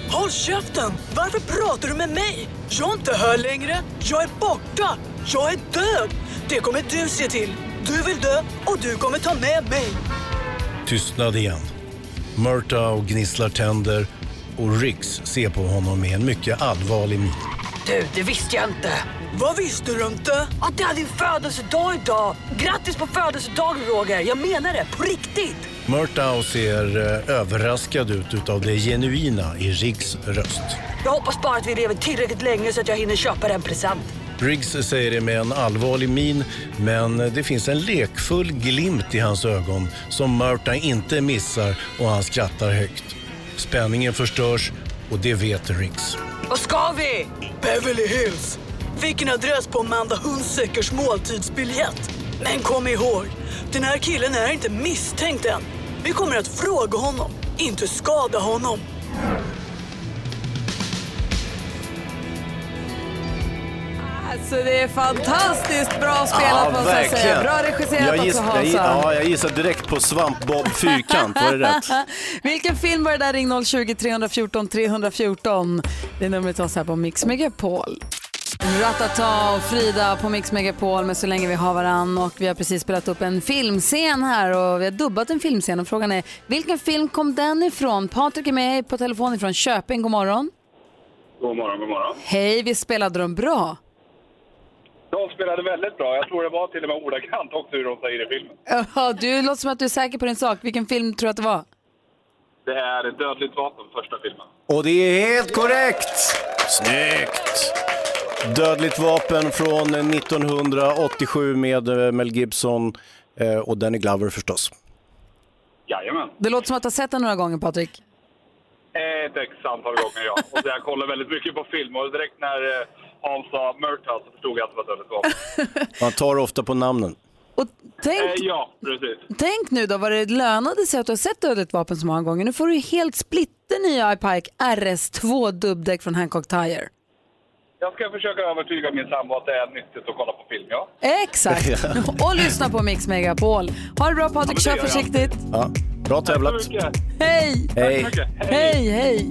Håll käften! Varför pratar du med mig? Jag är inte här längre. Jag är borta. Jag är död. Det kommer du se till. Du vill dö och du kommer ta med mig. Tystnad igen. Murtaugh gnisslar tänder och Riggs ser på honom med en mycket allvarlig min. Du, det visste jag inte. Vad visste du inte? Att det är din födelsedag idag. Grattis på födelsedagen Roger. Jag menar det, på riktigt. Murtaugh ser eh, överraskad ut utav det genuina i Riggs röst. Jag hoppas bara att vi lever tillräckligt länge så att jag hinner köpa dig en present. Riggs säger det med en allvarlig min, men det finns en lekfull glimt i hans ögon som Murtaugh inte missar och han skrattar högt. Spänningen förstörs och det vet Riggs. Vad ska vi? Beverly Hills. Vilken adress på Amanda Hundsäckers måltidsbiljett. Men kom ihåg, den här killen är inte misstänkt än. Vi kommer att fråga honom. inte skada honom. Alltså det är fantastiskt bra spelat måste jag säga. Bra regisserat jag också giss- jag, Hansa. gi- ja, jag gissar direkt på Svamp Bob Fyrkant, var det rätt? Vilken film var det där? Ring 020-314 314. Det är numret till oss här på Mix Megapol. Ratata och Frida på Mix Megapol med Så länge vi har varann och vi har precis spelat upp en filmscen här och vi har dubbat en filmscen och frågan är vilken film kom den ifrån? Patrik är med på telefon ifrån Köping, god morgon. God morgon, god morgon. Hej, vi spelade dem bra. De spelade väldigt bra. Jag tror det var till och med ordagrant också hur de säger i filmen. Ja, Du låter som att du är säker på din sak. Vilken film tror du att det var? Det är Dödligt vapen, första filmen. Och det är helt korrekt! Snyggt! Dödligt vapen från 1987 med eh, Mel Gibson eh, och Danny Glover förstås. Jajamän. Det låter som att du har sett den några gånger Patrik. Ett ex antal gånger, ja. Och så jag kollar väldigt mycket på film och direkt när eh, Hans sa Murtaugh så förstod jag att det var Dödligt vapen. Man tar ofta på namnen. Tänk, Eh, ja, precis. tänk nu då vad det lönade sig att du har sett Dödligt vapen så många gånger. Nu får du ju helt splitternya iPike RS2 dubbdäck från Hancock Tire. Jag ska försöka övertyga min sambo att det är nyttigt att kolla på film, ja. Exakt! Och lyssna på Mix Megapol. Ha det bra Patrik, Ja, kör men det gör jag. försiktigt. Ja, bra tävlat. Hej! Hej. Hej, hej!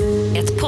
Ett